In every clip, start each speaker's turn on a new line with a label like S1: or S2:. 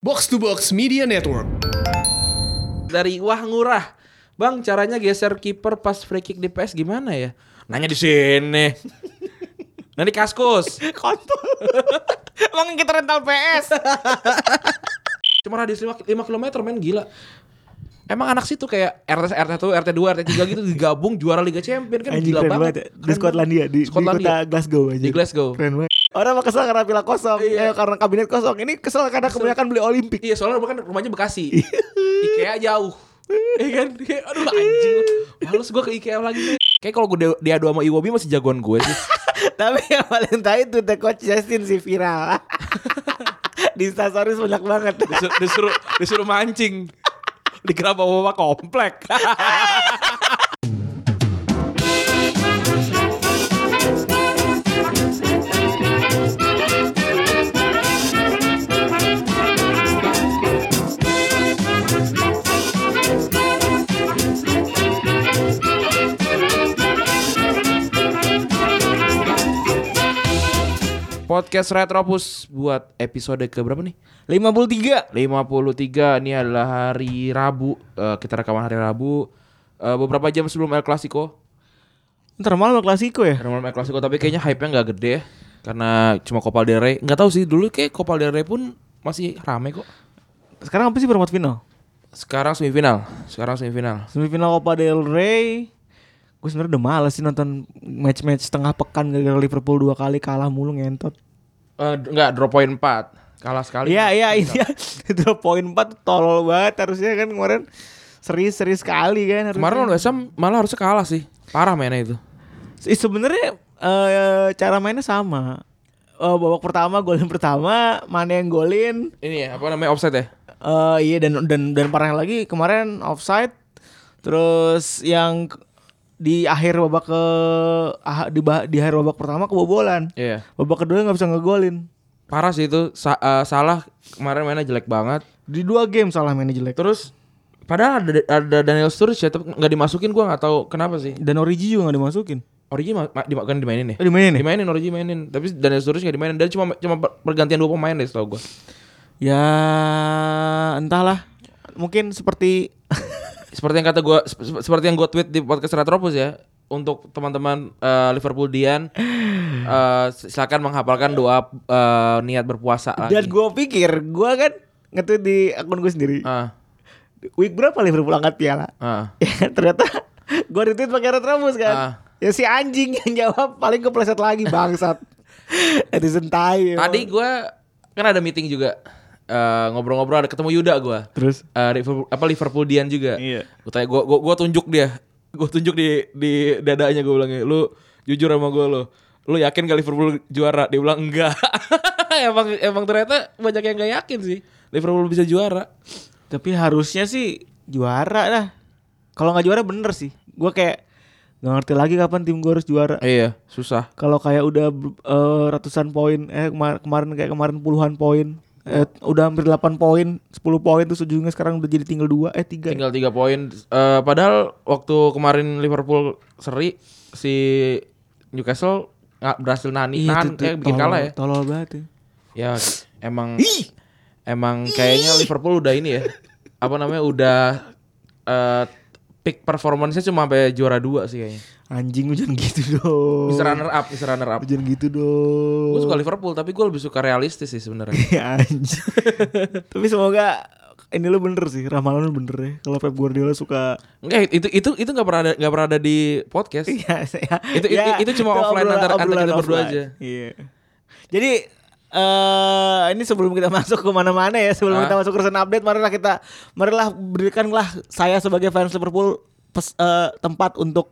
S1: Box to Box Media Network.
S2: dari wah ngurah. Bang, caranya geser kiper pas free kick di PS gimana ya? Nanya di sini. Nanti kaskus.
S3: kontol. Emang kita rental PS.
S2: Cuma radius 5, km men gila. Emang anak situ kayak RT RT 1, RT 2, RT 3 gitu digabung juara Liga Champion kan
S3: Anjing
S2: gila
S3: keren banget.
S2: banget.
S3: ya. Di Skotlandia di, di
S2: Skotlandia.
S3: kota Glasgow aja.
S2: Di Glasgow.
S3: Keren banget. Orang mah kesel karena pila kosong,
S2: Iya.
S3: eh, karena kabinet kosong. Ini kesel karena kebanyakan beli Olimpik.
S2: Iya,
S3: Iya.
S2: soalnya bukan rumahnya Bekasi. IKEA jauh. Iya kan? Kayak, Aduh anjing. Males gua ke IKEA lagi nih. Kayak kalau gue diadu sama Iwobi masih jagoan gue sih.
S3: Tapi yang paling tai itu The Coach Justin si viral. di Instastories banyak banget.
S2: Disur- disuruh disuruh mancing dikira bawa bawa komplek podcast retropus buat episode ke berapa nih
S3: 53.
S2: 53 ini adalah hari Rabu Eh, kita rekaman hari Rabu Eh, beberapa jam sebelum El Clasico
S3: Ntar malam klasiko ya.
S2: Karena El Clasico tapi kayaknya hype-nya nggak gede ya karena cuma Copa del Rey nggak tahu sih dulu kayak Copa del Rey pun masih rame kok
S3: Sekarang apa sih perempat final?
S2: sekarang semifinal sekarang semifinal
S3: Semifinal Copa del Rey. Gue sebenarnya udah males sih nonton match-match setengah pekan gara-gara Liverpool dua kali kalah mulu ngentot.
S2: Eh, d- nggak drop point 4 kalah sekali
S3: Iya iya
S2: gitu.
S3: iya itu poin 4 tolol banget harusnya kan kemarin seri-seri sekali kan harusnya.
S2: kemarin lawan West Ham malah harusnya kalah sih parah mainnya itu
S3: Se- sebenarnya eh, cara mainnya sama. Eh, babak pertama golin pertama mana yang golin
S2: ini ya apa namanya offset ya
S3: Eh, iya dan dan dan parah lagi kemarin offside terus yang k- di akhir babak ke ah, di, ba- di akhir babak pertama kebobolan.
S2: iya
S3: Babak kedua nggak bisa ngegolin.
S2: parah sih itu Sa- eh, salah kemarin mainnya jelek banget
S3: Di dua game salah mainnya jelek.
S2: terus padahal ada, ada Daniel Sturridge ya tapi nggak dimasukin gua nggak tahu kenapa sih
S3: Dan Origi juga nggak dimasukin.
S2: Origi ma- ma- di- kan dimainin ya
S3: Eh, di mana nih?
S2: dimainin Origi mainin tapi Daniel Sturridge nggak dimainin dan cuma cuma per- pergantian dua pemain deh setahu gua
S3: Ya entahlah. Mungkin seperti
S2: seperti yang kata gua sep- sep- seperti yang gua tweet di podcast Retropus ya untuk teman-teman eh, Liverpool Dian eh, silakan menghafalkan doa eh, niat berpuasa lagi.
S3: dan gue pikir gue kan nge-tweet di akun gue sendiri.
S2: Ah,
S3: Week berapa Liverpool angkat piala?
S2: ah.
S3: Ya ternyata gue retweet pakai retrobus kan.
S2: Ah.
S3: Ya si anjing yang jawab paling kepleset lagi bangsat. Netizen tai. ya. emang.
S2: Tadi gua kan ada meeting juga Eh, ngobrol-ngobrol ada ketemu Yuda gua
S3: terus
S2: Eh, Liverpool, apa Liverpoolian juga.
S3: Iya.
S2: Gue tanya, gue tunjuk dia, gue tunjuk di di dadanya gue bilang, lu jujur sama gue lo, lu yakin gak Liverpool juara? Dia bilang enggak. emang emang ternyata banyak yang gak yakin sih Liverpool bisa juara.
S3: tapi harusnya sih juara lah. Kalau nggak juara bener sih. Gue kayak nggak ngerti lagi kapan tim gue harus juara.
S2: iya, susah.
S3: kalau kayak udah eh, ratusan poin eh kemar- kemarin kayak kemarin puluhan poin eh, udah hampir 8 poin 10 poin terus ujungnya sekarang udah jadi tinggal 2 eh 3
S2: Tinggal tiga poin. Eh, padahal waktu kemarin Liverpool seri si Newcastle nggak berhasil nahan, nahan kayak bikin kalah ya.
S3: Iya, tolol banget ya.
S2: Ya emang emang kayaknya Liverpool udah ini ya. Apa namanya udah eh peak performance-nya cuma sampai juara dua sih kayaknya.
S3: anjing lu jangan gitu dong
S2: Bisa runner up, bisa runner up.
S3: Lu jangan gitu dong
S2: Gue suka Liverpool tapi gue lebih suka realistis sih sebenarnya.
S3: ya anjing tapi semoga ini lu bener sih ramalan lu bener ya kalau Pep Guardiola suka
S2: Enggak itu itu itu nggak pernah ada nggak pernah ada di podcast.
S3: ya, ya,
S2: Itu- itu- itu cuma offline
S3: obrolan-
S2: antara- antara
S3: obrolan
S2: kita berdua
S3: offline.
S2: aja.
S3: Iya. Jadi eh ini sebelum kita masuk ke mana-mana ya, sebelum
S2: Ah.
S3: kita masuk ke recent update, marilah kita marilah berikanlah saya sebagai fans Liverpool pes- eh, tempat untuk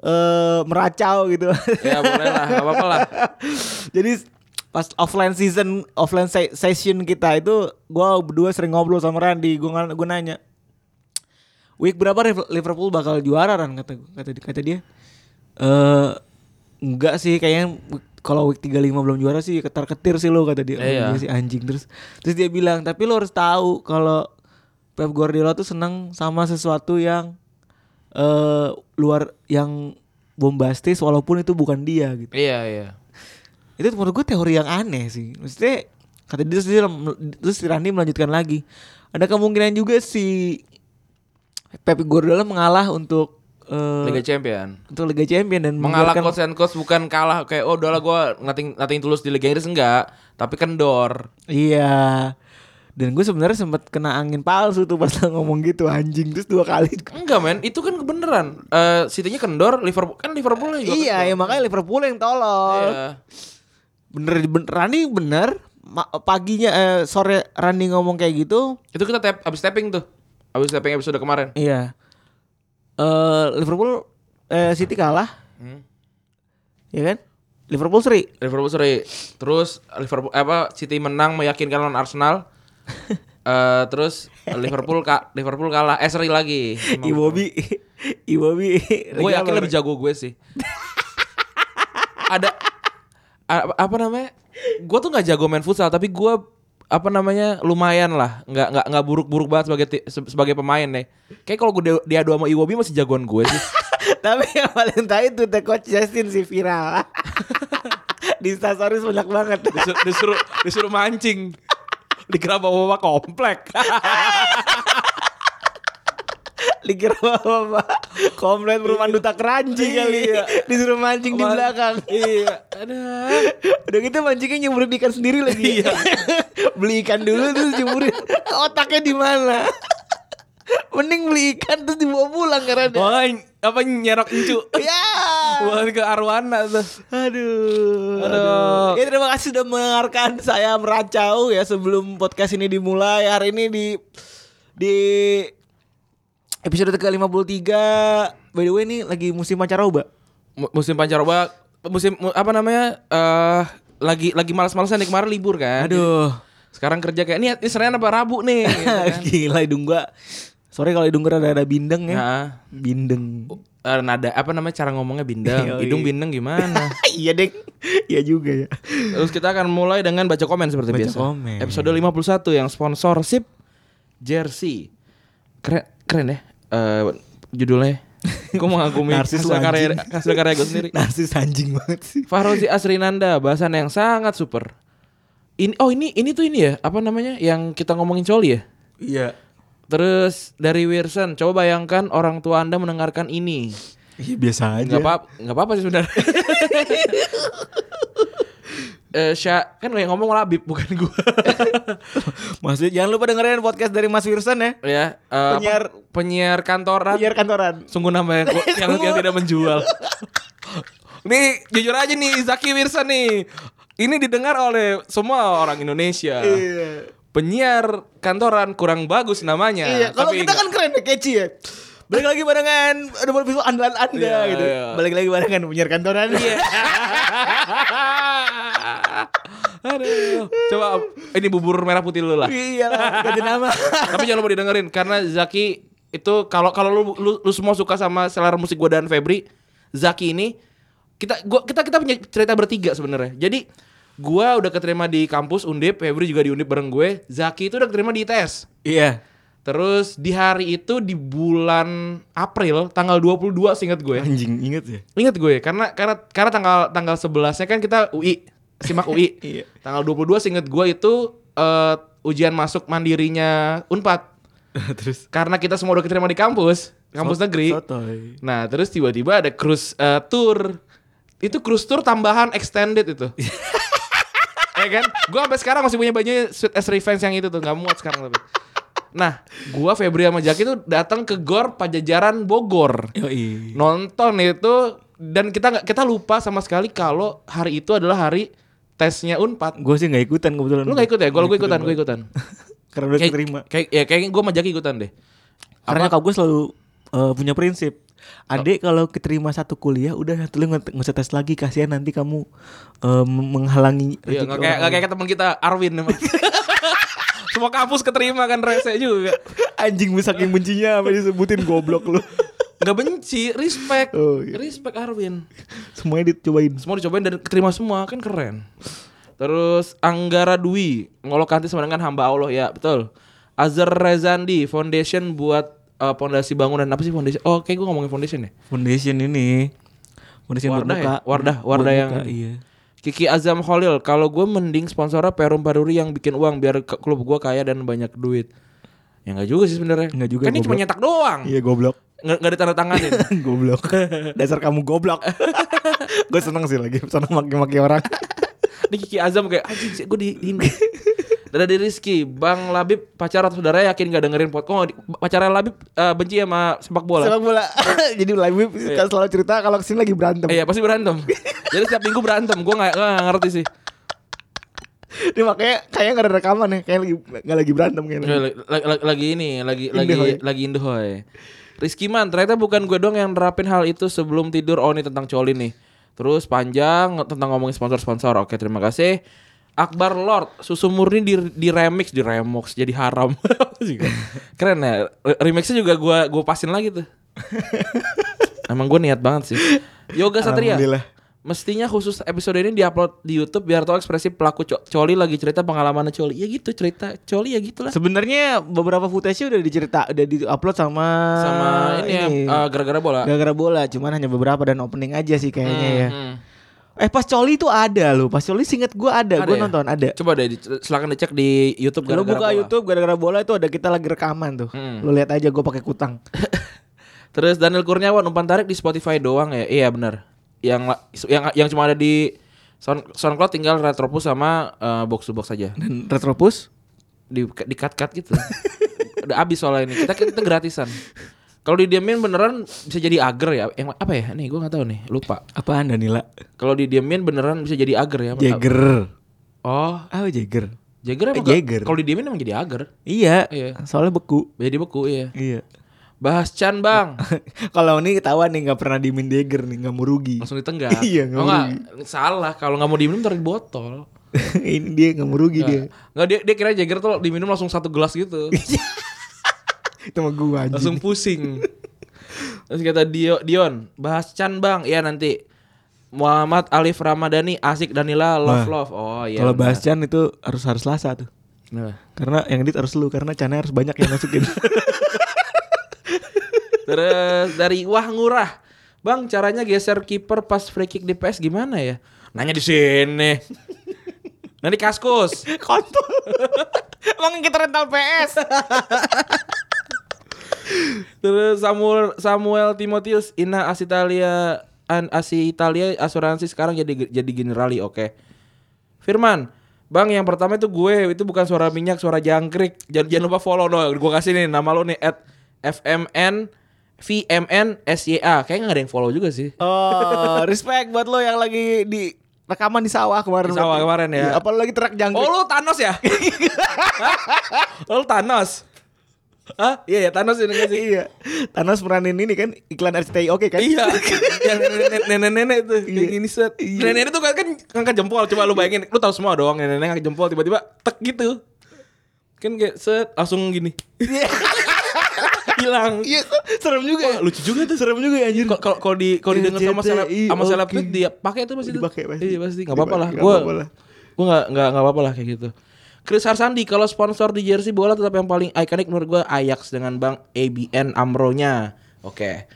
S3: eh meracau gitu.
S2: Ya boleh lah, nggak apa-apa lah.
S3: Jadi pas offline season, offline se- session kita itu gua berdua sering ngobrol sama Randy, gua, nga- gua nanya. Week berapa Riv- Liverpool bakal juara Ran kata kata kata dia. Eh enggak sih kayaknya week- kalau week 35 belum juara sih ketar-ketir sih lo kata dia. Oh,
S2: Iya.
S3: iya sih, anjing terus. Terus dia bilang, "Tapi lo harus tahu kalau Pep Guardiola tuh senang sama sesuatu yang eh luar yang bombastis walaupun itu bukan dia gitu
S2: Iya iya.
S3: itu menurut gue teori yang aneh sih maksudnya Kata dia terus dia terus si Randy melanjutkan lagi. Ada kemungkinan juga si Pep Guardiola mengalah untuk eh,
S2: Liga Champion.
S3: untuk Liga Champion dan
S2: Mengalah
S3: membiarkan-
S2: coach and coach bukan kalah kayak oh udahlah gue nothing nothing tulus di Liga Inggris enggak, tapi kendor.
S3: Iya. Dan gue sebenarnya sempet kena angin palsu tuh pas lo ngomong gitu anjing terus dua kali.
S2: Enggak men, itu kan kebenaran. Eh City-nya kendor, Liverpool kan Liverpool juga.
S3: iya, ya
S2: kendor.
S3: makanya Liverpool yang tolol.
S2: Iya.
S3: Bener, bener Rani bener ma- paginya eh, sore Rani ngomong kayak gitu.
S2: Itu kita tap abis tapping tuh. Abis tapping episode kemarin.
S3: Iya. Eh Liverpool eh, City kalah,
S2: Hmm.
S3: ya kan? Liverpool seri.
S2: Liverpool seri. Terus Liverpool apa City menang meyakinkan lawan Arsenal. Eh terus Liverpool ka, Liverpool kalah eh seri lagi.
S3: Iwobi Iwobi
S2: Gue yakin lebih jago gue sih. Ada a- apa namanya? Gue tuh nggak jago main futsal, tapi gue apa namanya lumayan lah, nggak nggak nggak buruk-buruk banget sebagai ti- se- sebagai pemain nih. Kayak kalau gue dia dua sama Iwobi masih jagoan gue sih.
S3: Tapi yang paling tai itu The Coach Justin si viral Di instastories banyak banget
S2: Disu- disuruh disuruh mancing. Dikira bawa-bawa komplek.
S3: Dikira apa Komplain perumahan duta keranji kali
S2: Iya.
S3: Disuruh mancing di belakang
S2: Iya. Aduh.
S3: Udah gitu mancingnya nyemburin ikan sendiri lagi ya. Beli ikan dulu terus nyemburin Otaknya di mana Mending beli ikan terus dibawa pulang karena ada
S2: Wah, apa nyerok encu.
S3: Ya
S2: Buat ke arwana tuh.
S3: Aduh,
S2: Aduh.
S3: Ya terima kasih sudah mendengarkan saya meracau ya sebelum podcast ini dimulai hari ini di di episode ke-53. By the way ini lagi musim pancaroba.
S2: Mu- musim pancaroba musim mu- apa namanya eh lagi lagi malas-malasan nih kemarin libur kan
S3: Aduh.
S2: sekarang kerja kayak ini ini Senin apa Rabu nih gitu kan.
S3: Gila hidung gua. Sorry kalau hidung gua ada ada bindeng ya.
S2: Nah,
S3: Bindeng.
S2: eh, nada apa namanya cara ngomongnya bindeng
S3: Yoi.
S2: hidung bindeng gimana
S3: Ah, iya, Deng. Iya juga ya.
S2: terus kita akan mulai dengan baca komen seperti
S3: Baca
S2: biasa
S3: komen.
S2: episode 51 yang sponsorship jersey keren keren ya Eh, judulnya gue mengagumi
S3: Narsis
S2: hasil
S3: lu
S2: karya
S3: anjing. Nah.
S2: hasil karya gue sendiri
S3: Narsis anjing banget sih.
S2: Fahrozi Asrinanda bahasan yang sangat super. Ini oh ini ini tuh ini ya apa namanya yang kita ngomongin coli ya.
S3: Iya.
S2: Terus dari Wilson coba bayangkan orang tua anda mendengarkan ini.
S3: Iya biasa aja.
S2: Nggak apa nggak apa apa sih sebenarnya. Eh, Sya- kan yang ngomong Labib bukan gua.
S3: Maksudnya jangan lupa dengerin podcast dari Mas Wirsan ya.
S2: ya, eh, apa?
S3: Penyiar-
S2: penyiar kantoran.
S3: Biar kantoran.
S2: Sungguh nama yang, yang, yang tidak menjual. nih jujur aja nih Zaki Wirsan nih. Ini didengar oleh semua orang Indonesia.
S3: Iya.
S2: penyiar kantoran kurang bagus namanya.
S3: Iya, kalau
S2: Tapi
S3: kita kan keren ya, catchy ya. Balik lagi barengan ada episode andalan Anda
S2: Iya,
S3: gitu.
S2: iya.
S3: Balik lagi barengan penyiar kantoran. Iya.
S2: enggak. Aduh. Coba ini bubur merah putih lu lah.
S3: iya lah, ganti nama.
S2: Tapi jangan lupa didengerin karena Zaki itu kalau kalau lu, lu lu semua suka sama selera musik gua dan Febri, Zaki ini kita gua kita kita punya cerita bertiga sebenarnya. Jadi gua udah keterima di kampus Undip, Febri juga di Undip bareng gue. Zaki itu udah keterima di ITS.
S3: iya.
S2: Terus di hari itu di bulan April tanggal 22 seingat gue.
S3: Anjing, inget ya.
S2: Ingat gue karena karena karena tanggal tanggal 11-nya kan kita UI, simak UI.
S3: Iya.
S2: Tanggal 22 seinget gue itu eh, ujian masuk mandirinya Unpad.
S3: Terus
S2: Karena kita semua udah keterima di kampus, kampus
S3: Sot-
S2: negeri.
S3: Sotoy.
S2: Nah, terus tiba-tiba ada cruise eh, tour. Itu cruise tour tambahan extended itu. ya kan? Gua sampai sekarang masih punya bajunya Sweet as Revenge yang itu tuh, nggak muat sekarang tapi. Nah, gua Febri sama Jaki tuh datang ke Gor Pajajaran Bogor.
S3: Yoi.
S2: Nonton itu dan kita nggak kita lupa sama sekali kalau hari itu adalah hari tesnya Unpad.
S3: Gue sih gak ikutan kebetulan.
S2: Lu gak ikut ya? Gua gue ikutan, gue ikutan.
S3: Karena udah
S2: Kayak-
S3: keterima.
S2: Kayak ya kayaknya gua sama Jaki ikutan deh.
S3: Karena nyokap gue selalu eh, punya prinsip.
S2: Oh.
S3: Adek kalau keterima satu kuliah udah satu lu nggak nggak usah tes lagi kasihan nanti kamu eh, menghalangi
S2: Iya, gak kayak,
S3: rezeki orang
S2: gak
S3: lain."
S2: kayak teman kita Arwin emang. Semua kampus keterima kan rese juga.
S3: anjing gue saking bencinya apa disebutin goblok lu.
S2: Gak benci, respect.
S3: Oh, iya.
S2: Respect Arwin.
S3: Semuanya dicobain.
S2: Semua dicobain dan keterima semua, kan keren. Terus Anggara Dwi, ngolokanti sama dengan hamba Allah ya, betul. Azhar Rezandi, foundation buat eh, fondasi bangunan apa sih foundation? Oh, kayak gue ngomongin foundation ya.
S3: Foundation ini Foundation
S2: Wardah
S3: buat muka
S2: ya? Wardah- wardah
S3: Buat
S2: yang-
S3: muka, iya.
S2: Kiki Azam Khalil, kalau gue mending sponsornya Perum Paruri yang bikin uang biar ke- klub gue kaya dan banyak duit. Ya nggak juga sih sebenarnya.
S3: Nggak juga,
S2: Kan ini cuma
S3: goblok.
S2: nyetak doang.
S3: Iya goblok.
S2: Nggak nggak ditandatanganin.
S3: goblok. Dasar kamu goblok. gue seneng sih lagi seneng maki-maki orang.
S2: Ini Kiki Azam kayak anjing sih gue di ini. Dan dari Rizky, Bang Labib pacar atau saudara yakin gak dengerin podcast? Oh, pacarnya Labib eh, benci sama sepak bola.
S3: Sepak bola. Jadi live web selalu cerita kalau kesini lagi berantem.
S2: Iya pasti berantem. Jadi setiap minggu berantem. Gue nggak nggak ngerti sih.
S3: Ini makanya kayaknya gak ada rekaman ya, kayak lagi gak lagi berantem kayaknya.
S2: Lagi, lagi- lagi ini, lagi lagi
S3: Indehoy.
S2: lagi Indehoy. Rizky man, ternyata bukan gue doang yang nerapin hal itu sebelum tidur. Oh ini tentang Coli nih. Terus panjang tentang ngomongin sponsor-sponsor. Oke terima kasih. Akbar Lord, susu murni di, di remix, di remix jadi haram. Keren ya, re- remixnya juga gue gue pasin lagi tuh. Emang gue niat banget sih. Yoga Satria.
S3: Alhamdulillah.
S2: Mestinya khusus episode ini diupload di YouTube biar tahu ekspresi pelaku co- coli lagi cerita pengalamannya coli. Ya gitu cerita coli ya gitulah.
S3: Sebenarnya beberapa footage udah dicerita, udah diupload sama
S2: Sama ini, ya, eh, gara-gara bola.
S3: gara-gara bola, cuman hanya beberapa dan opening aja sih kayaknya ya.
S2: Hmm.
S3: Eh pas coli itu ada loh, pas coli singet gue ada,
S2: Ada
S3: gue
S2: ya?
S3: nonton ada.
S2: Coba deh di- silakan dicek di YouTube
S3: Lu
S2: gara-gara
S3: buka
S2: bola.
S3: YouTube gara-gara bola itu ada kita lagi rekaman tuh.
S2: Hmm.
S3: Lu lihat aja gue pakai kutang.
S2: Terus Daniel Kurniawan umpan tarik di Spotify doang ya. Iya benar. Yang la- yang yang cuma ada di Sound, SoundCloud tinggal Retropus sama eh, box to box aja.
S3: Dan Retropus
S2: Di di cut-cut gitu. Udah abis soalnya ini. Kita kita gratisan. Kalau didiamin beneran bisa jadi agar ya. Yang apa ya? Nih gua nggak tahu nih, lupa.
S3: apaan Danila?
S2: Kalau didiemin beneran bisa jadi agar ya?
S3: Jagger.
S2: Oh,
S3: Ah Jagger.
S2: Jagger emang
S3: Eh, Jagger.
S2: kalau didiemin emang jadi agar.
S3: Iya.
S2: Iya.
S3: Soalnya beku.
S2: Jadi beku ya.
S3: Iya.
S2: Bahas Chan bang,
S3: Kalau ini ketawa nih nggak pernah dimin Jagger nih nggak mau rugi.
S2: langsung ditenggak.
S3: Iya, nggak
S2: oh, nggak, salah. Kalau nggak mau diminum taruh di botol.
S3: ini dia nggak mau rugi dia.
S2: Nggak dia dia kira Jagger tuh diminum langsung satu gelas gitu,
S3: Itu mah gua aja.
S2: langsung pusing. Terus kata Dio, Dion, bahas Chan bang, ya nanti. Muhammad Alif Ramadhani, asik Danila, love
S3: Wah.
S2: love. Oh iya.
S3: Kalau
S2: benar.
S3: bahas Chan itu harus harus Selasa tuh.
S2: Nah.
S3: Karena yang edit harus lu karena Chan harus banyak yang masukin.
S2: Terus dari Wah Ngurah. Bang, caranya geser kiper pas free kick di PS gimana ya? Nanya di sini. Nanti kaskus.
S3: Kontol. Emang kita rental PS.
S2: Terus Samuel Samuel Timotius Ina Asitalia An Asitalia asuransi sekarang jadi jadi generali, oke. Firman, Bang yang pertama itu gue, itu bukan suara minyak, suara jangkrik. Jangan, jangan lupa follow dong. Gue kasih nih nama lo nih at FMN VMN SYA. Kayaknya gak ada yang follow juga sih.
S3: Oh, respect buat lo yang lagi di rekaman di sawah kemarin.
S2: Di sawah
S3: Berarti.
S2: kemarin ya.
S3: Iya, apa lo lagi terak
S2: Oh
S3: jangkrik?
S2: lu Thanos ya? Hah? lu Thanos? Hah? Iya ya Thanos ini kan sih.
S3: iya. Thanos meranin ini kan iklan RCTI oke kan?
S2: Iya. Yang nenek- nenek-nenek itu
S3: Iya.
S2: yang ini set. Nenek itu kan kan ngangkat jempol. Coba lu bayangin, lu tahu semua doang nenek ngangkat jempol tiba-tiba tek gitu. Kan kayak set langsung gini. Hilang.
S3: Iya, serem juga ya.
S2: Wah, lucu juga tuh.
S3: Serem juga ya anjir.
S2: Kalau kalau- kalau di kalau didengar sama seleb
S3: RCTI,
S2: sama selebgram
S3: Iya, oke.
S2: dia pakai itu pasti. tuh.
S3: Dipakai pasti.
S2: Iya pasti enggak apa-apa lah.
S3: Dipakai, nggak
S2: Gua
S3: apa-apa lah.
S2: gua enggak enggak enggak apa-apa lah kayak gitu. Chris Harsandi kalau sponsor di jersey bola tetap yang paling ikonik menurut gua Ajax dengan Bank ABN Amro-nya. Oke.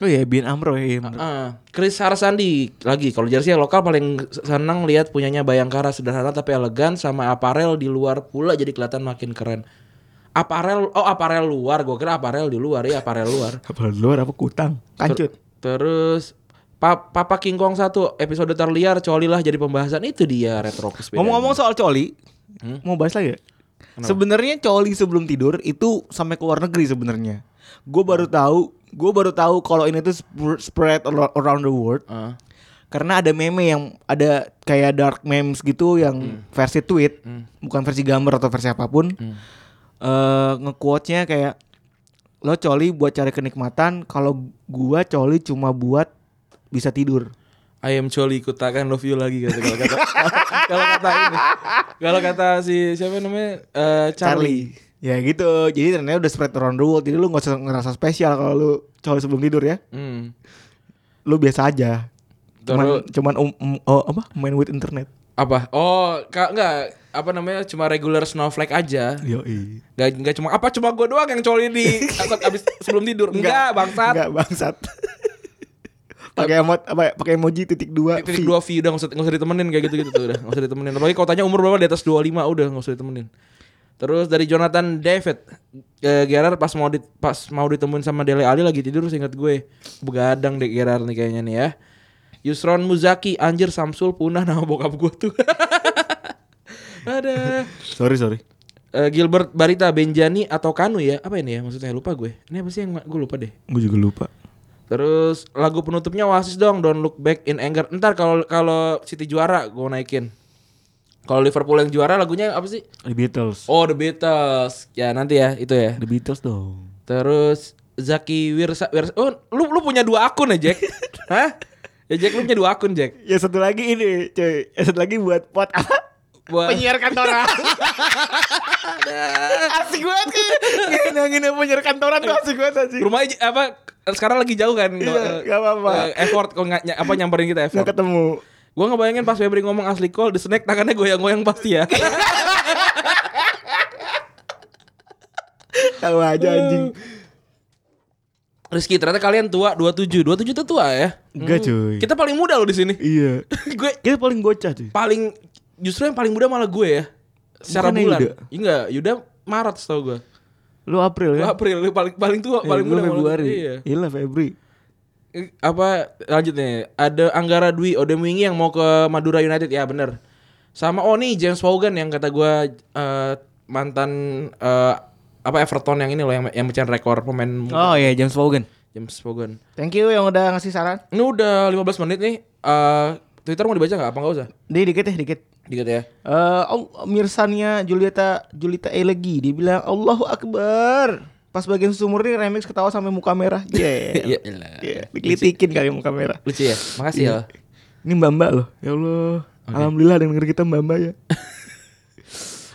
S3: Oh iya, Bin Amro ya. iya, bener.
S2: Ah, Chris Harsandi lagi kalau jersey yang lokal paling senang lihat punyanya Bayangkara sederhana tapi elegan sama aparel di luar pula jadi kelihatan makin keren. Aparel oh aparel luar gua kira aparel di luar ya aparel luar.
S3: Apa luar apa kutang? Kancut.
S2: Terus Pa- Papa King Kong 1 episode terliar colilah jadi pembahasan itu dia retro
S3: Ngomong-ngomong soal coli, mau bahas lagi ya? Sebenarnya coli sebelum tidur itu sampai ke luar negeri sebenarnya. Gue baru tahu, gue baru tahu kalau ini tuh sp- spread ar- around the world.
S2: Ah.
S3: Karena ada meme yang ada kayak dark memes gitu yang versi tweet, bukan versi gambar atau versi apapun. Eh, nge-quote-nya kayak lo coli buat cari kenikmatan, kalau gua coli cuma buat bisa tidur.
S2: I am Choli kutakan love you lagi kata kalau kata kalau kata ini kalau kata si siapa namanya Eh, Charlie.
S3: Charlie. Ya gitu. Jadi ternyata udah spread around the world. Jadi lu nggak usah ngerasa spesial kalau lu coli sebelum tidur ya.
S2: Hmm.
S3: Lu biasa aja. Cuman
S2: Terus-
S3: cuman um- um- oh, apa? Main with internet.
S2: Apa? Oh, ka, enggak apa namanya cuma regular snowflake aja.
S3: Yo
S2: Enggak enggak cuma apa cuma gue doang yang coli di abis sebelum tidur. Enggak, bangsat.
S3: Enggak bangsat. pakai emot apa ya, pakai emoji titik dua
S2: titik
S3: V.
S2: dua V udah nggak usah nggak usah ditemenin kayak gitu gitu tuh udah nggak usah ditemenin apalagi kalau tanya umur berapa di atas 25 udah nggak usah ditemenin terus dari Jonathan David eh, Gerard pas mau di, pas mau ditemuin sama Dele Ali lagi tidur seingat gue begadang deh Gerard nih kayaknya nih ya Yusron Muzaki anjir Samsul punah nama bokap gue tuh ada
S3: sorry sorry
S2: Eh, Gilbert Barita Benjani atau Kanu ya apa ini ya maksudnya lupa gue ini apa sih yang gue lupa deh
S3: gue juga lupa
S2: Terus lagu penutupnya Oasis dong, Don't Look Back in Anger. Ntar kalau kalau City juara gue naikin. Kalau Liverpool yang juara lagunya apa sih?
S3: The Beatles
S2: Oh The Beatles. Ya nanti ya itu ya.
S3: The Beatles dong
S2: Terus Zaki Wirsa, Wirsa- Oh lu lu punya dua akun ya Jack? Hah? Ya Jack lu punya dua akun Jack.
S3: ya satu lagi ini cuy ya satu lagi buat pot apa
S2: Buat
S3: penyiar kantoran asik banget kan nangin penyiar kantoran tuh asik banget asik
S2: rumah apa? Sekarang lagi jauh kan?
S3: Iya, nggak apa-apa.
S2: Eh, Effort kok nggak ny- apa nyamperin kita
S3: nggak
S2: effort.
S3: ketemu
S2: Gue ngebayangin pas Febri ngomong asli call, the snack tangannya goyang-goyang pasti ya.
S3: tahu aja anjing
S2: Rizky, ternyata kalian tua 27. 27 tuh tua ya?
S3: Enggak, cuy.
S2: Kita paling muda loh di sini.
S3: iya
S2: gue
S3: kita paling gocah cuy
S2: paling justru yang paling muda malah gue ya. Secara
S3: Bukannya
S2: bulan.
S3: Yuda?
S2: Iya Enggak, Yuda Maret tau gue.
S3: lu April
S2: Gue
S3: kan
S2: April lu paling paling tua,
S3: Eh,
S2: paling
S3: gua
S2: muda malah.
S3: Februari
S2: Iya.
S3: Gila Februari
S2: Eh, Apa lanjut nih? Ada Anggara Dwi Odemwingi yang mau ke Madura United ya, bener Sama oh nih James Vaughan yang kata gue eh, mantan eh, apa Everton yang ini loh yang yang mecahin rekor pemain muda.
S3: oh iya James Vaughan
S2: James Vaughan.
S3: thank you yang udah ngasih saran
S2: Ini udah 15 menit nih. Eh Twitter mau dibaca nggak? Apa nggak usah?
S3: di dikit ya dikit
S2: Dikit ya.
S3: Eh, oh, mirsanya Julieta Julita Elegi dia bilang Allahu Akbar. Pas bagian sumur ini remix ketawa sampai muka merah. Yeah.
S2: Ya elah.
S3: yeah. Iya. Dikelitikin kali muka merah.
S2: Lucu ya. Makasih ya.
S3: Ini Mbak Mbak loh. Ya Allah. Alhamdulillah dengan denger kita Mbak Mbak ya.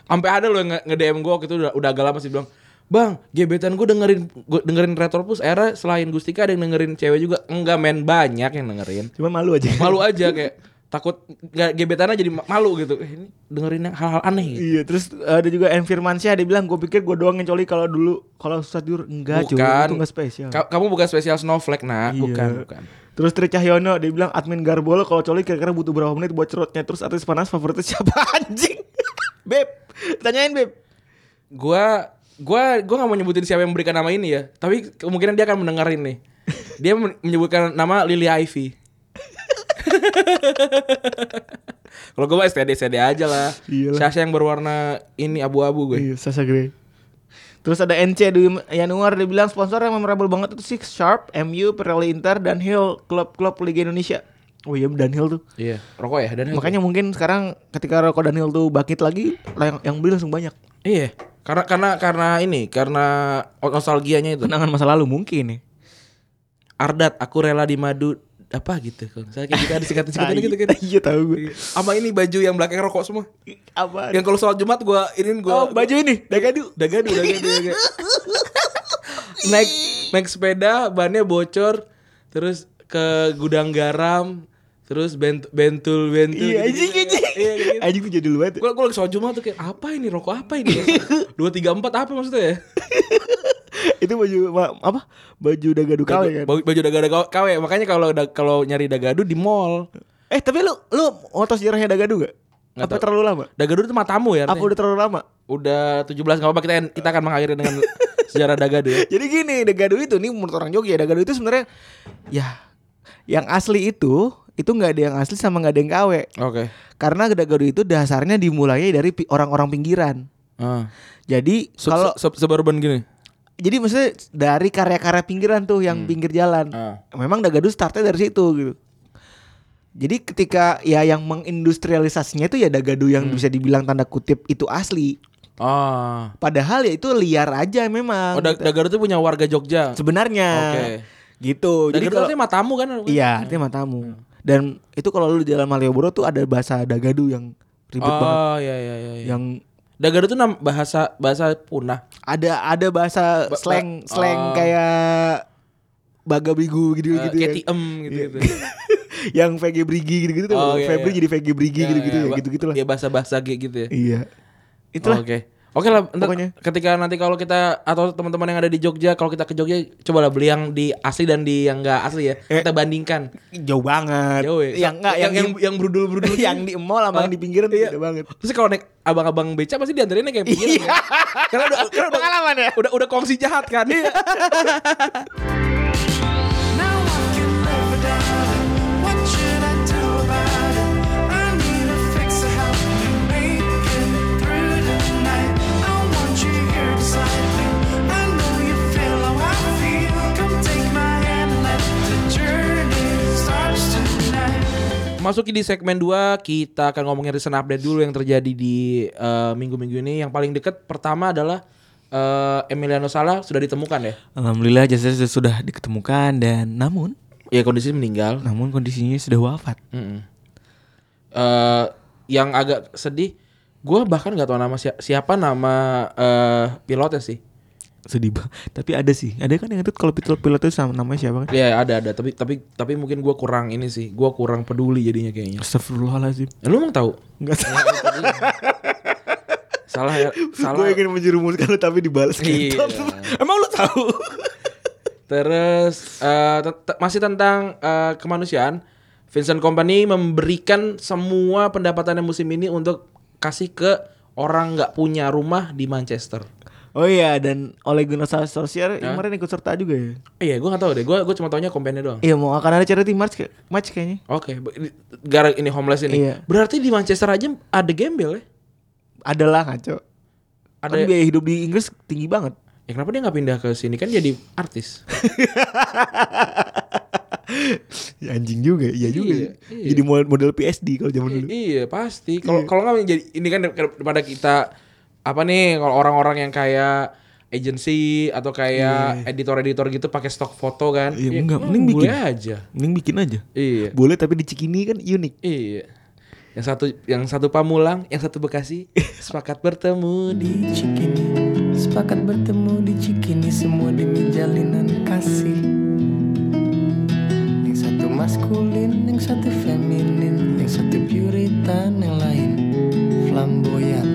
S2: Sampai ada loh yang nge- nge-DM gue waktu itu udah, udah agak lama sih bilang, "Bang, gebetan gue dengerin gua dengerin Retropus era selain Gustika ada yang dengerin cewek juga." Enggak men banyak yang dengerin.
S3: Cuma malu aja.
S2: Malu aja kayak takut nggak gebetannya jadi ma- malu gitu. Eh, ini dengerin yang hal-hal aneh gitu.
S3: Iya, terus ada juga Envir Mansyah dia bilang gue pikir gue doang yang coli kalau dulu kalau susah tidur enggak cuy,
S2: Bukan.
S3: itu enggak spesial.
S2: Ka- Kamu bukan spesial snowflake, nak.
S3: Iya.
S2: Bukan, bukan.
S3: Terus Tri Cahyono dia bilang admin Garbolo kalau coli kira-kira butuh berapa menit buat cerutnya. Terus artis panas favoritnya siapa anjing? Beb, tanyain Beb.
S2: gua gua gua nggak mau nyebutin siapa yang memberikan nama ini ya tapi kemungkinan dia akan mendengarin nih dia men- menyebutkan nama Lily Ivy kalau gue STD STD aja lah
S3: Iyalah.
S2: Sasha yang berwarna ini abu-abu gue
S3: Iya, Sasha Grey. Terus ada NC di Januar dia bilang sponsor yang memorable banget itu Six Sharp, MU, Pirelli Inter, dan Hill, klub-klub Liga Indonesia. Oh iya, Dan Hill tuh.
S2: iya rokok ya dan
S3: Makanya mungkin sekarang ketika rokok Dan Hill tuh bakit lagi, yang, yang beli langsung banyak.
S2: iya karena karena karena ini karena nostalgianya itu
S3: Kenangan masa lalu mungkin ya.
S2: Ardat aku rela dimadu apa gitu kalau saya kayak gitu ada singkatan-singkatan gitu kan
S3: Iya tahu gue.
S2: sama ini baju yang belakang rokok semua
S3: Apa?
S2: yang kalau sholat Jumat gua ini
S3: Oh,
S2: gua
S3: baju ini, Dagadu.
S2: Dagadu, dagadu, dagadu. naik naik sepeda bannya bocor terus ke gudang garam terus bent- bentul bentul
S3: Iya, anjing anjing.
S2: iya gitu.
S3: Anjing tuh jadi luat.
S2: Gue lagi soal Jumat tuh kayak apa ini rokok apa ini ya? Dua tiga empat apa maksudnya ya?
S3: Itu baju ma- apa? Baju Dagadu kali kan.
S2: Baju, baju dagadu kawe- kawe ya. makanya kalau da- kalau nyari dagadu di mall
S3: Eh, tapi lu lu mau tahu sejarahnya Dagadu gak?
S2: Nggak
S3: Apa
S2: tahu.
S3: terlalu lama?
S2: dagadu itu matamu ya?
S3: Apa
S2: artinya?
S3: udah terlalu lama?
S2: Udah 17 nggak apa-apa kita kita akan mengakhiri dengan sejarah dagadu ya.
S3: Jadi gini, Dagadu itu nih menurut orang Jogja, Dagadu itu sebenarnya ya yang asli itu itu nggak ada yang asli sama nggak ada yang KW.
S2: Oke.
S3: Karena Dagadu itu dasarnya dimulai dari pi- orang-orang pinggiran.
S2: Ah.
S3: Jadi
S2: Sub-
S3: kalau
S2: sub- suburban gini.
S3: jadi maksudnya dari karya-karya pinggiran tuh yang pinggir jalan.
S2: Ah.
S3: Memang Dagadu startnya dari situ gitu. Jadi ketika ya yang mengindustrialisasinya itu ya Dagadu yang
S2: Hmm.
S3: bisa dibilang tanda kutip itu asli.
S2: Ah.
S3: Padahal ya itu liar aja memang.
S2: Oh, da- Dagadu tuh punya warga Jogja.
S3: Sebenarnya.
S2: Oke.
S3: Gitu.
S2: Dagadu Hmm.
S3: kalau-
S2: tuh matamu kan?
S3: Iya, artinya matamu. Dan itu kalau lu di jalan Malioboro tuh ada bahasa Dagadu yang ribet banget,
S2: Oh, iya iya iya. iya.
S3: yang
S2: Dagadu tuh nam- bahasa bahasa punah.
S3: ada ada bahasa
S2: Ba- ba-
S3: slang slang
S2: Oh.
S3: kayak baga bigu gitu
S2: Eh,
S3: gitu ya.
S2: KTM gitu gitu.
S3: Iya. yang VG Brigi gitu gitu tuh.
S2: Oh, iya,
S3: Febri
S2: iya.
S3: jadi VG Brigi gitu gitu ya,
S2: Ba-
S3: gitu gitulah.
S2: Dia bahasa bahasa G gitu ya.
S3: Iya. Itulah.
S2: Oke. Oke lah, ntar
S3: Pokoknya.
S2: ketika nanti kalau kita atau teman-teman yang ada di Jogja, kalau kita ke Jogja, cobalah beli yang di asli dan di yang enggak asli ya.
S3: Eh.
S2: Kita bandingkan.
S3: Jauh banget.
S2: Jauh ya.
S3: Yang enggak yang
S2: yang
S3: yang,
S2: yang brudul-brudul.
S3: yang, di mall sama yang di pinggiran
S2: Iya.
S3: beda banget.
S2: Terus kalau naik abang-abang beca pasti dianterinnya kayak begini. kan?
S3: Iya.
S2: Karena udah karena udah
S3: Pengalaman ya? Iya.
S2: Udah udah kongsi jahat kan.
S1: Now I can live without it. What should I do about it? I need a fix to help me make it through the night. I want you here beside me. I know you feel how I feel. Come take my hand, let the journey start tonight.
S2: Masuki di segmen 2 kita akan ngomongin recent update dulu yang terjadi di eh, minggu-minggu ini. Yang paling dekat pertama adalah eh, Emiliano Sala sudah ditemukan ya.
S3: Alhamdulillah jasadnya sudah diketemukan dan namun
S2: Ya kondisi meninggal.
S3: namun kondisinya sudah wafat.
S2: Mm-mm. Eh, yang agak sedih, gue bahkan nggak tahu nama si- siapa nama eh, pilotnya sih.
S3: Sedih banget. Tapi ada sih. Ada kan yang itu kalau pilot pilot itu sama namanya siapa kan?
S2: Ya ada ada, tapi tapi tapi mungkin gue kurang ini sih, gue kurang peduli jadinya kayaknya.
S3: Astagfirullahalazim.
S2: Eh, Lu emang tahu?
S3: Enggak tahu.
S2: Salah ya, salah.
S3: Gue iya. ingin menjerumuskan lu tapi dibalas
S2: Iya.
S3: kentut. Emang lu tahu?
S2: Terus eh, te- te- masih tentang eh, kemanusiaan, Vincent Company memberikan semua pendapatannya musim ini untuk kasih ke orang nggak punya rumah di Manchester.
S3: Oh iya dan oleh Gunnar Solskjaer yang kemarin ikut serta juga ya.
S2: Iya, gue nggak tahu deh. Gue gue cuma taunya kompennya doang.
S3: Iya mau akan ada charity match kayak match kayaknya.
S2: Oke, be- ini- gara ini homeless ini.
S3: Iya.
S2: Berarti di Manchester aja ada gembel ya?
S3: Adalah ngaco.
S2: Ada.
S3: Kan biaya hidup di Inggris tinggi banget.
S2: Ya kenapa dia nggak pindah ke sini kan jadi artis?
S3: Ya, anjing juga, iya juga.
S2: Iya, iya.
S3: Jadi model, model PSD kalau zaman dulu.
S2: I- iya pasti. Kalau kalau nggak jadi ini kan daripada kita apa nih kalau orang-orang yang kayak agency atau kayak editor-editor gitu pakai stok foto kan?
S3: Iya,
S2: Ya,
S3: enggak,
S2: emang
S3: mending bikin.
S2: boleh aja.
S3: Mending bikin aja.
S2: Iya.
S3: Boleh tapi dicikini kan unik.
S2: Iya. Yang satu yang satu Pamulang, yang satu Bekasi sepakat bertemu di
S1: di Cikini Sepakat bertemu di Cikini Semua demi jalinan kasih Yang satu maskulin, yang satu feminin Yang satu puritan, yang lain flamboyan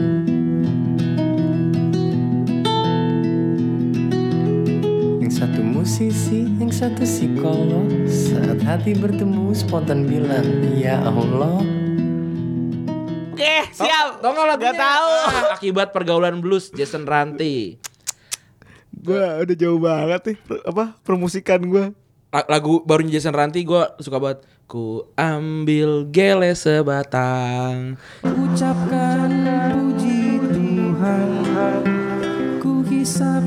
S1: Yang satu musisi, yang satu psikolog Saat hati bertemu spontan bilang Ya Allah
S3: Oke,
S2: Tau tau nggak lagunya?
S3: Gak tahu.
S2: Ah, akibat pergaulan blues Jason Ranti.
S3: Gua udah jauh banget nih per- apa permusikan gua.
S2: La- Lagu barunya Jason Ranti gue suka banget. Ku ambil gele sebatang.
S1: Ucapkan puji Tuhan Ku hisap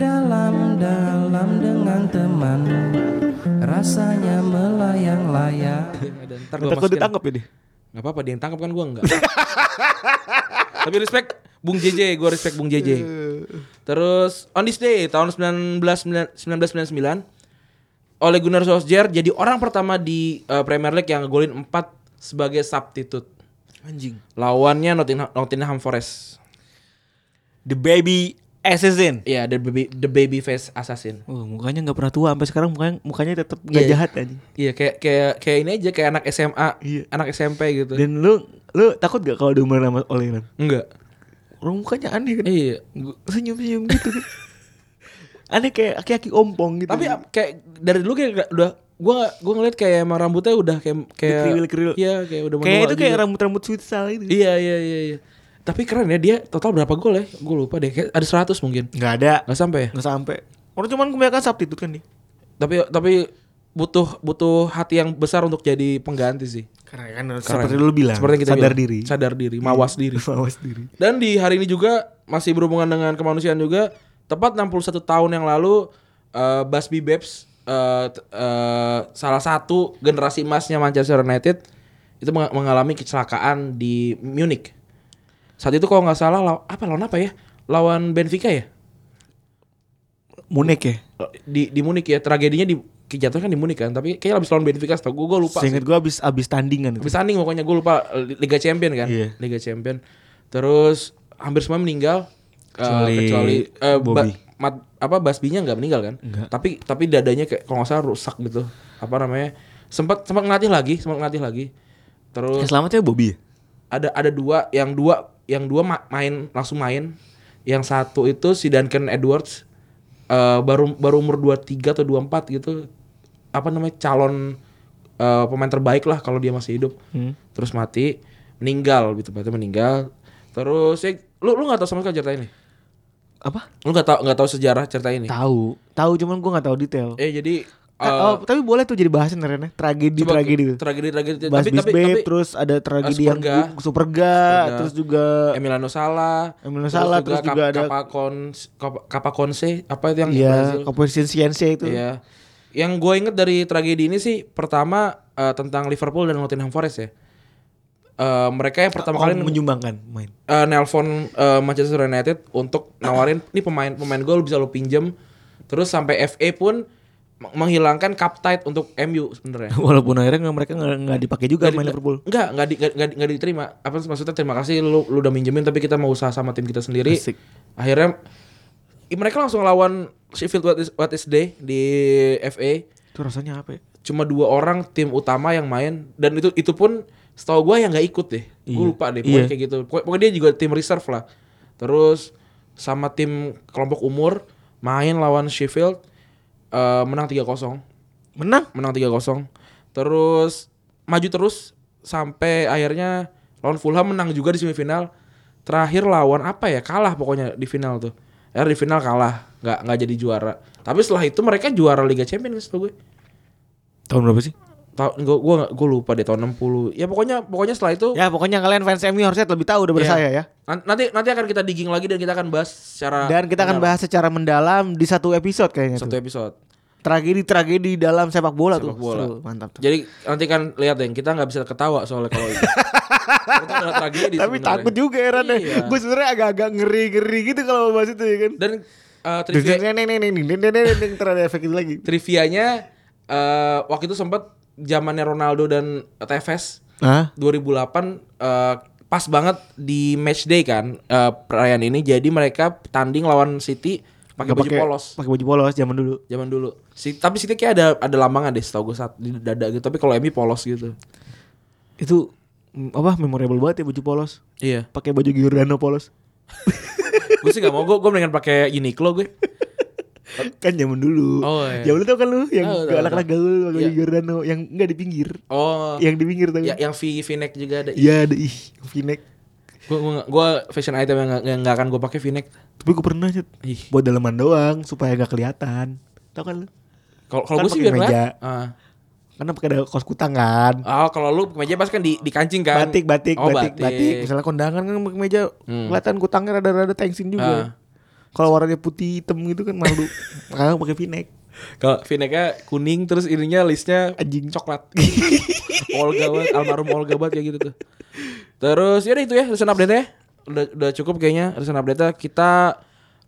S1: dalam-dalam dengan teman Rasanya melayang-layang
S2: Ada, Ntar gue
S3: Takut
S2: masukin.
S3: ditangkap ya deh.
S2: Gak apa-apa dia yang tangkap kan gue enggak. Tapi respect Bung JJ, gue respect Bung JJ. Terus on this day tahun 19, 1999 oleh Gunnar Solskjaer jadi orang pertama di eh, Premier League yang ngegolin 4 sebagai substitute.
S3: Anjing.
S2: Lawannya Nottingham, Nottingham Forest.
S3: The baby assassin.
S2: Iya, the baby the baby face assassin.
S3: Oh, mukanya nggak pernah tua sampai sekarang mukanya mukanya tetap
S2: Iya.
S3: nggak jahat anjing.
S2: Iya, kayak kayak kayak ini aja kayak anak SMA,
S3: Iya.
S2: anak SMP gitu.
S3: Dan lu lu takut gak kalau diumur sama oleh Ran?
S2: Enggak.
S3: Orang mukanya aneh kan.
S2: Iya.
S3: Senyum-senyum gitu kan. aneh kayak aki-aki ompong gitu.
S2: Tapi ap- kayak dari dulu kayak nggak- udah gua gua ngeliat kayak emang rambutnya udah kayak kayak
S3: Dikriwil-kriwil.
S2: Iya, kayak udah
S3: kayak
S2: menua
S3: itu kayak
S2: gitu.
S3: rambut-rambut gitu. futsal itu.
S2: Iya, iya, iya, iya. Tapi keren ya dia total berapa gol ya? Gue lupa deh, kayak ada 100 mungkin.
S3: Enggak ada.
S2: Gak sampai ya?
S3: Enggak sampai. Orang cuman kebanyakan substitute kan nih.
S2: Tapi tapi butuh butuh hati yang besar untuk jadi pengganti sih.
S3: Karena kan harus
S2: Keren.
S3: seperti lu bilang,
S2: Seperti yang kita
S3: sadar
S2: bilang.
S3: diri.
S2: Sadar diri, mawas diri.
S3: Mawas diri.
S2: Dan di hari ini juga masih berhubungan dengan kemanusiaan juga. Tepat 61 tahun yang lalu eh, Busby Babes eh, t- eh, salah satu generasi emasnya Manchester United itu meng- mengalami kecelakaan di Munich. Saat itu kalau nggak salah law- apa lawan apa ya? Lawan Benfica ya?
S3: Munek ya.
S2: Di di Munich ya. Tragedinya di jatuhnya kan di Munich kan, tapi kayaknya habis lawan Benfica setahu gue, gue lupa. sih.
S3: Seingat gua abis abis tandingan itu.
S2: Habis tanding pokoknya gue lupa Liga Champion kan.
S3: Iya.
S2: Liga Champion. Terus hampir semua meninggal Eh,
S3: Kecuali
S2: kecuali eh, ba-
S3: Bobby.
S2: mat, apa Basbinya nggak meninggal kan?
S3: Nggak.
S2: Tapi tapi dadanya kayak kalau nggak salah rusak gitu. Apa namanya? Sempat sempat ngelatih lagi, sempat ngelatih lagi. Terus
S3: Ya, selamatnya Eh, Bobby. ya?
S2: ada ada dua yang dua yang dua ma- main langsung main Yang satu itu si Duncan Edwards eh, baru baru umur 23 atau 24 gitu. Apa namanya? calon eh, pemain terbaik lah kalau dia masih hidup.
S3: Hmm.
S2: Terus mati, meninggal gitu. Berarti meninggal. Terus ya, lu lu nggak tahu sama sekali cerita ini.
S3: Apa?
S2: Lu nggak tahu nggak tahu sejarah cerita ini.
S3: Tahu. Tahu cuman gua nggak tahu detail.
S2: Eh jadi
S3: Ta-
S2: eh,
S3: oh, tapi boleh tuh jadi bahasan Ren ya. Tragedi
S2: coba-
S3: tragedi gitu. tuh.
S2: Tragedi tragedi.
S3: Bahas tapi, terus ada tragedi yang
S2: Superga.
S3: superga, superga,
S2: Superga.
S3: terus juga
S2: Eh, Emiliano Sala,
S3: Emiliano Sala, terus juga ada-
S2: Kapakons, Kap- Kapakonse, apa itu yang di
S3: ya
S2: Brazil?
S3: komposisi Ciense itu.
S2: Iya. Yang gue inget dari tragedi ini sih pertama eh, tentang Liverpool dan Nottingham Forest ya. Eh, mereka yang pertama
S3: Oh,
S2: kali
S3: menyumbangkan main.
S2: eh, nelpon eh, Manchester United untuk nawarin nih pemain pemain gue bisa lo pinjem. Terus sampai FA pun meng- menghilangkan cup tight untuk MU sebenarnya.
S3: Walaupun akhirnya nggak- mereka nggak nggak dipakai juga main Liverpool.
S2: Enggak, enggak di, nggak- nggak di- nggak diterima. Apa sih maksudnya terima kasih lu lu udah minjemin tapi kita mau usaha sama tim kita sendiri.
S3: Asik.
S2: Akhirnya i- mereka langsung lawan Sheffield What is, What is Day di FA.
S3: Itu rasanya apa ya?
S2: Cuma dua orang tim utama yang main dan itu itu pun setahu gua yang nggak ikut deh. Gue
S3: Iya.
S2: lupa deh pokoknya
S3: Iya.
S2: kayak gitu. Pokoknya, pokoknya dia juga tim reserve lah. Terus sama tim kelompok umur main lawan Sheffield eh, menang 3-0
S3: Menang.
S2: menang 3-0. Terus maju terus sampai akhirnya lawan Fulham menang juga di semifinal. Terakhir lawan apa ya? Kalah pokoknya di final tuh. Ya di final kalah, nggak nggak jadi juara. Tapi setelah itu mereka juara Liga Champions tuh gue.
S3: Tahun berapa sih?
S2: Tahun gue gue nggak- gue lupa deh tahun 60. Ya pokoknya pokoknya setelah itu
S3: Ya pokoknya kalian fans MU harusnya lebih tahu daripada
S2: Iya.
S3: saya ya.
S2: nan- nanti nanti akan kita digging lagi dan kita akan bahas secara
S3: Dan kita akan
S2: mendalam
S3: bahas secara mendalam di satu episode kayaknya
S2: satu
S3: tuh.
S2: episode.
S3: Tragedi-tragedi dalam sepak bola
S2: Sepak
S3: tuh.
S2: bola.
S3: Seru, mantap tuh.
S2: Jadi nanti kan lihat deh kita nggak bisa ketawa soalnya kalau itu. Itu adalah tragedi
S3: Tapi
S2: sebenarnya.
S3: takut juga ya Ran
S2: Iya.
S3: Gue sebenarnya agak-agak ngeri-ngeri gitu kalau bahas itu ya kan.
S2: Dan eh, trivia,
S3: Neng neng neng neng neng neng neng neng terus ada efek itu lagi.
S2: trivianya eh waktu itu sempat zamannya Ronaldo dan Tevez
S3: Hah?
S2: 2008 eh, pas banget di match day kan eh, perayaan ini jadi mereka tanding lawan City pakai
S3: Nggak
S2: baju polos
S3: Pakai baju polos zaman dulu.
S2: zaman dulu. Si, tapi City kayak ada ada lambangan deh setahu gue saat di dada gitu tapi kalau Emi polos gitu.
S3: Itu mm, apa memorable banget ya baju polos.
S2: Iya.
S3: Pakai baju Giordano polos.
S2: gue sih gak mau gue gue mendingan pakai Uniqlo gue.
S3: Kan zaman dulu.
S2: Oh, iya.
S3: Zaman dulu tau kan lu yang
S2: Tahu, tahu,
S3: galak-galak
S2: tahu.
S3: gaul
S2: Iya.
S3: pakai baju Giordano yang enggak di pinggir.
S2: Oh.
S3: Yang di pinggir tapi.
S2: Ya, yang V V-neck juga ada.
S3: Iya ada ih V-neck.
S2: Gue gue fashion item yang gak, yang nggak akan gue pakai V-neck.
S3: Tapi gue pernah nyet.
S2: Ih.
S3: Buat daleman doang supaya gak kelihatan. Tau kan lu?
S2: Kalau kalau
S3: Kan
S2: gue sih
S3: pakai
S2: biar
S3: meja.
S2: lah. Ah.
S3: Karena pakai ada kaos kutang kan.
S2: Oh, kalau lu kemeja pasti kan di dikancing kan?
S3: Batik, batik,
S2: oh, Hmm.
S3: batik, batik, Misalnya kondangan kan pakai meja kelihatan kutangnya rada-rada tengsin
S2: Ah.
S3: juga. Kalau warnanya putih hitam gitu kan malu. Makanya pakai v-neck.
S2: Kalau V-necknya kuning terus ininya listnya
S3: Anjing.
S2: coklat. Olga banget, almarhum Olga banget kayak gitu tuh. Terus ya itu ya recent update ya. Udah, udah cukup kayaknya recent update nya kita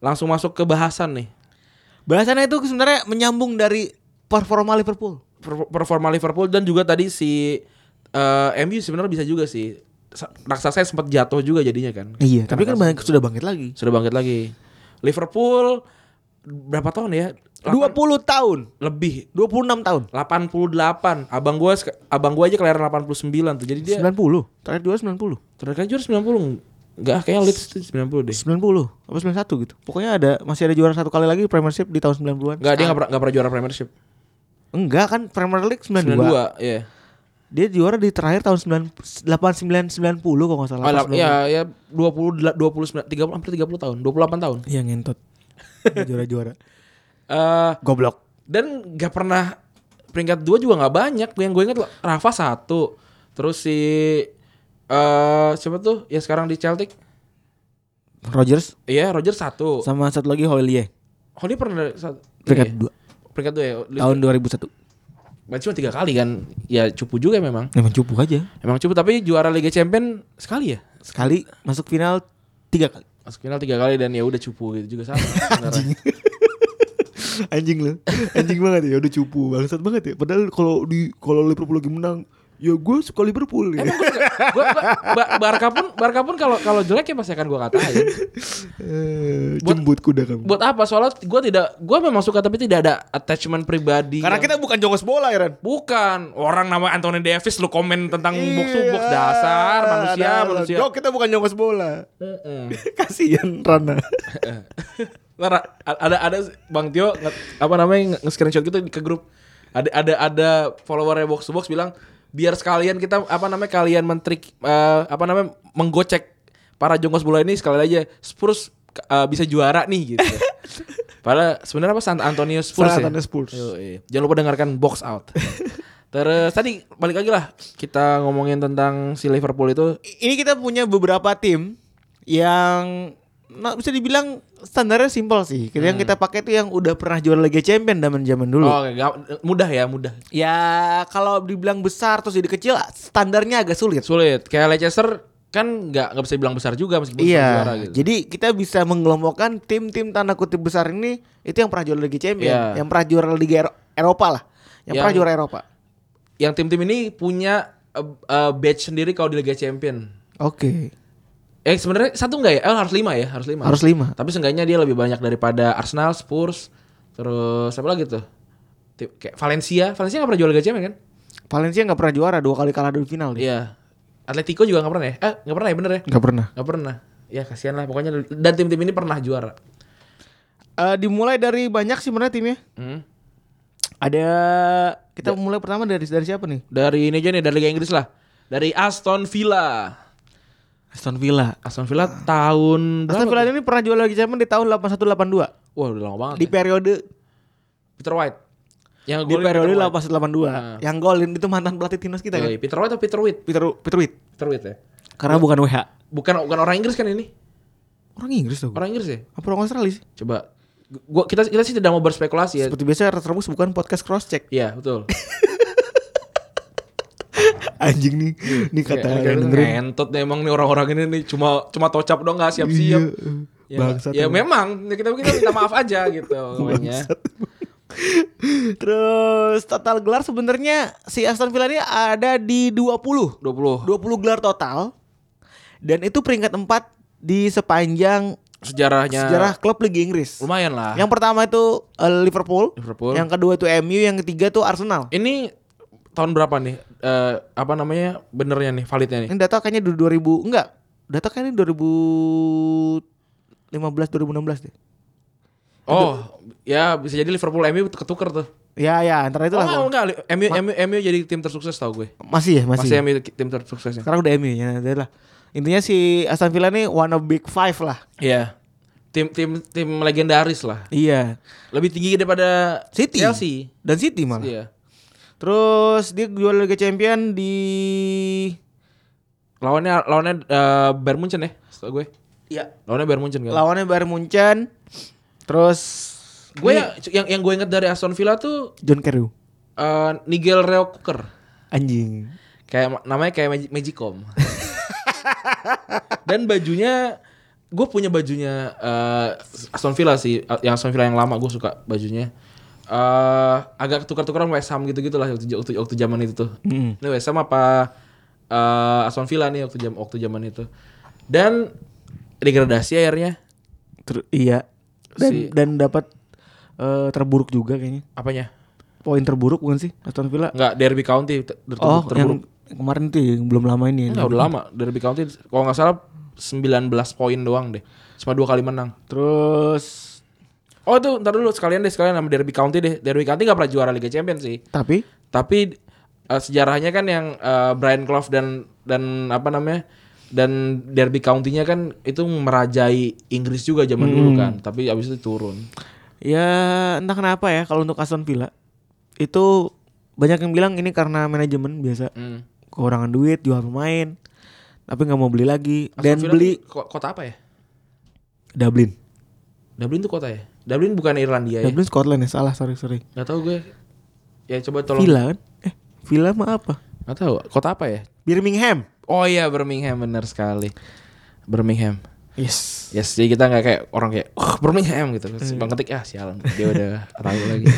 S2: langsung masuk ke bahasan nih.
S3: Bahasannya itu sebenarnya menyambung dari performa Liverpool.
S2: Per- Performa Liverpool dan juga tadi si eh, MU sebenarnya bisa juga sih. Sa- Raksasa sempat jatuh juga jadinya kan.
S3: Iya, tapi kan banyak sudah bangkit lagi.
S2: Sudah bangkit lagi. Liverpool berapa tahun ya?
S3: 20 tahun,
S2: lebih
S3: 26 tahun.
S2: 88. Abang gua sek- abang gua aja kelahiran 89 tuh. Jadi dia
S3: 90. Terakhir dua 90.
S2: terakhir kali juara 90. Enggak, kayaknya Leeds tuh 90 deh.
S3: 90 apa 91 gitu. Pokoknya ada masih ada juara satu kali lagi Premiership di tahun 90-an.
S2: Enggak, dia enggak pernah enggak pernah juara Premiership.
S3: Enggak kan Premier League 92.
S2: 92, iya.
S3: Dia juara di terakhir tahun 9 89 90 kalau enggak salah.
S2: Oh,
S3: Apa
S2: lah,
S3: 90?
S2: ya ya 20 dela- 29 30 hampir 30 tahun, 28 tahun.
S3: Iya ngentot. Dia Juara-juara.
S2: Eh
S3: Goblok.
S2: dan enggak pernah peringkat 2 juga enggak banyak. Yang gue ingat Rafa 1. Terus si eh siapa tuh? Ya sekarang di Celtic.
S3: Rogers
S2: Iya, Roger 1.
S3: sama satu lagi Hoylier.
S2: Holy pernah satu.
S3: Peringkat
S2: iya,
S3: dua
S2: peringkat 2 ya.
S3: tahun 2001.
S2: Berarti cuma tiga kali kan Ya cupu juga memang
S3: Emang cupu aja.
S2: Emang cupu tapi juara Liga Champion sekali ya
S3: Sekali masuk final tiga kali.
S2: Masuk final tiga kali dan ya udah cupu gitu juga sama sebenarnya.
S3: anjing lu anjing banget ya udah cupu bangsat banget ya padahal kalau di kalau Liverpool lagi menang
S4: Ya gue suka Liverpool ya.
S2: Emang gue gua, gua, Ba- Barca pun Barca pun kalau kalau jelek ya pasti akan gue katain.
S4: Eh,
S2: Buat-
S4: Jembut kuda kamu.
S2: Buat apa? Soalnya gue tidak gue memang suka tapi tidak ada attachment pribadi.
S4: Karena
S2: yang-
S4: kita bukan jongos bola ya Ren.
S2: Bukan orang nama Anthony Davis lu komen tentang box to box dasar
S4: Iya,
S2: manusia
S4: dasar.
S2: manusia.
S4: Dok kita bukan jongos bola.
S2: Mm-mm.
S4: Kasihan Rana.
S2: Ntar a- ada ada Bang Tio nge- apa namanya nge- nge-screenshot gitu ke grup. Ada ada ada followernya box to box bilang biar sekalian kita apa namanya kalian mentrik eh, apa namanya menggocek para jongkos bola ini sekali aja Spurs eh, bisa juara nih gitu. Padahal sebenarnya apa San Antonio Spurs
S4: San
S2: ya?
S4: Antonio Spurs.
S2: Yoi. Jangan lupa dengarkan box out. Terus tadi balik lagi lah kita ngomongin tentang si Liverpool itu
S3: ini kita punya beberapa tim yang nah, bisa dibilang standarnya simpel sih. Yang kita pakai tuh yang udah pernah juara Liga Champion zaman zaman dulu.
S2: oh, gak- mudah ya mudah
S3: Ya kalau dibilang besar terus jadi kecil standarnya agak sulit.
S2: sulit kayak Leicester kan nggak nggak bisa bilang besar juga meskipun
S3: Iya.
S2: juara gitu.
S3: Jadi kita bisa mengelompokkan tim-tim tanda kutip besar ini itu yang pernah juara Liga Champion,
S2: Iya.
S3: yang pernah juara Liga Ero- Eropa lah, yang,
S2: Yang-
S3: pernah juara Eropa.
S2: yang tim-tim ini punya eh, eh, badge sendiri kalau di Liga Champion.
S3: Oke.
S2: Eh sebenarnya satu nggak ya? Eh, harus lima ya, harus lima.
S3: Harus lima.
S2: Tapi seenggaknya dia lebih banyak daripada Arsenal, Spurs, terus apa lagi tuh? Tim- Kayak Valencia, Valencia nggak pernah juara Liga Champion kan?
S3: Valencia nggak pernah juara dua kali kalah di final dia.
S2: Iya. Atletico juga nggak pernah ya? Eh nggak pernah ya bener ya?
S3: Nggak pernah.
S2: Nggak pernah. Ya kasihan lah pokoknya dan tim-tim ini pernah juara.
S3: Eh, dimulai dari banyak sih sebenarnya timnya.
S2: Hmm.
S3: Ada kita mulai pertama dari dari siapa nih?
S2: Dari ini aja nih dari Liga Inggris lah. Dari Aston Villa.
S3: Aston Villa.
S2: Aston Villa tahun
S3: Aston Villa
S2: berapa?
S3: ini pernah juara Liga Champion di tahun 8182
S2: Wah udah lama banget.
S3: di
S2: ya.
S3: periode
S2: Peter White. Yang
S3: di
S2: golin
S3: periode
S2: Peter White.
S3: 8182
S2: Nah.
S3: yang golin itu mantan pelatih timnas kita kan.
S2: Yoi, Peter White atau Peter White?
S3: Peter Peter Witt.
S2: Peter White ya.
S3: Karena bukan WH.
S2: Bukan bukan orang Inggris kan ini?
S3: Orang Inggris tuh.
S2: Orang Inggris ya?
S3: Apa orang Australia sih?
S2: Coba gua kita kita sih tidak mau berspekulasi ya.
S3: Seperti biasa Retrebus bukan podcast cross check.
S2: Iya, betul.
S4: Anjing nih.
S3: Iya,
S4: Nih kata
S2: Iya, Kayak-
S4: Ren
S2: kayak
S4: dengerin.
S2: Ngentot nih emang nih orang-orang ini nih cuma cuma tocap doang nggak siap-siap.
S4: Iya, eh,
S2: Ya,
S4: Bangsat.
S2: ya
S4: emang.
S2: memang kita kita minta maaf aja gitu namanya.
S3: Terus total gelar sebenarnya si Aston Villa ini ada di
S2: 20
S3: 20. 20 gelar total. Dan itu peringkat 4 di sepanjang
S2: sejarahnya
S3: sejarah Ya klub Liga Inggris.
S2: lumayan lah.
S3: Yang pertama itu eh, Liverpool,
S2: Liverpool. Iya.
S3: yang kedua itu MU, yang ketiga tuh Arsenal.
S2: Ini tahun berapa nih? Eh, apa namanya? Benernya nih, validnya nih.
S3: Ini data kayaknya di 2000 enggak. Data kayaknya 2015 2016 deh.
S2: Oh, ya bisa jadi Liverpool MU ketuker tuh.
S3: Ya ya, antara itu
S2: Oh,
S3: lah.
S2: enggak, enggak, li- MU, MU, MU jadi tim tersukses tau gue.
S3: Masih ya, masih.
S2: Masih, MU tim tersuksesnya.
S3: Sekarang udah MU ya, udah lah. Intinya si Aston Villa nih one of big five lah.
S2: Iya. Tim tim tim legendaris lah.
S3: Iya.
S2: Lebih tinggi daripada
S3: City.
S2: Chelsea.
S3: Dan City malah.
S2: Iya.
S3: Terus dia juara Liga Champion di
S2: Lawannya lawannya eh, Bayern Munchen ya, setahu gue.
S3: ya
S2: Lawannya Bayern Munchen kan.
S3: lawannya Bayern Munchen. Terus
S2: gue yang,
S3: Iya.
S2: yang yang gue inget dari Aston Villa tuh
S3: John Carew.
S2: eh, Nigel Reo Cooker.
S3: Anjing.
S2: Kayak ma- namanya kayak Magi- Magicom. Dan bajunya gue punya bajunya eh, Aston Villa sih, eh, yang Aston Villa yang lama gue suka bajunya. eh agak tukar-tukaran West Ham gitu-gitu lah waktu, waktu, waktu zaman itu tuh. Ini West Ham apa eh, Aston Villa nih waktu jam waktu zaman itu. Dan degradasi akhirnya
S3: Ter- iya. Dan
S2: Si-
S3: dan dapat eh, terburuk juga kayaknya.
S2: apanya?
S3: Poin terburuk bukan sih Aston Villa?
S2: Enggak Derby County ter- ter-
S3: oh,
S2: terburuk.
S3: yang kemarin tuh yang belum lama ini. ya.
S2: Enggak udah lama Derby County kalau nggak salah 19 poin doang deh. Cuma dua kali menang.
S3: Terus
S2: Oh itu ntar dulu sekalian deh sekalian sama Derby County deh. Derby County nggak pernah juara Liga Champions sih.
S3: tapi
S2: Tapi eh, sejarahnya kan yang eh, Brian Clough dan dan apa namanya dan Derby County-nya kan itu merajai Inggris juga zaman dulu
S3: Hmm.
S2: kan. Tapi abis itu turun.
S3: ya entah kenapa ya kalau untuk Aston Villa itu banyak yang bilang ini karena manajemen biasa
S2: Hmm.
S3: kekurangan duit jual pemain tapi nggak mau beli lagi dan
S2: Aston Villa
S3: beli
S2: ko- kota apa ya?
S3: Dublin.
S2: Dublin tuh kota ya? Dublin bukan Irlandia ya?
S3: Dublin Scotland ya salah sorry sorry.
S2: Gak tau gue. Ya coba tolong.
S3: Villa kan? Eh Villa mah apa?
S2: Gak tau. Kota apa ya?
S3: Birmingham.
S2: Oh iya Birmingham bener sekali. Birmingham.
S3: Yes.
S2: Yes, Ya, jadi kita nggak kayak orang kayak "Wah,
S3: Iya.
S2: Birmingham gitu. Terus Bang ketik ah sialan dia udah tahu lagi.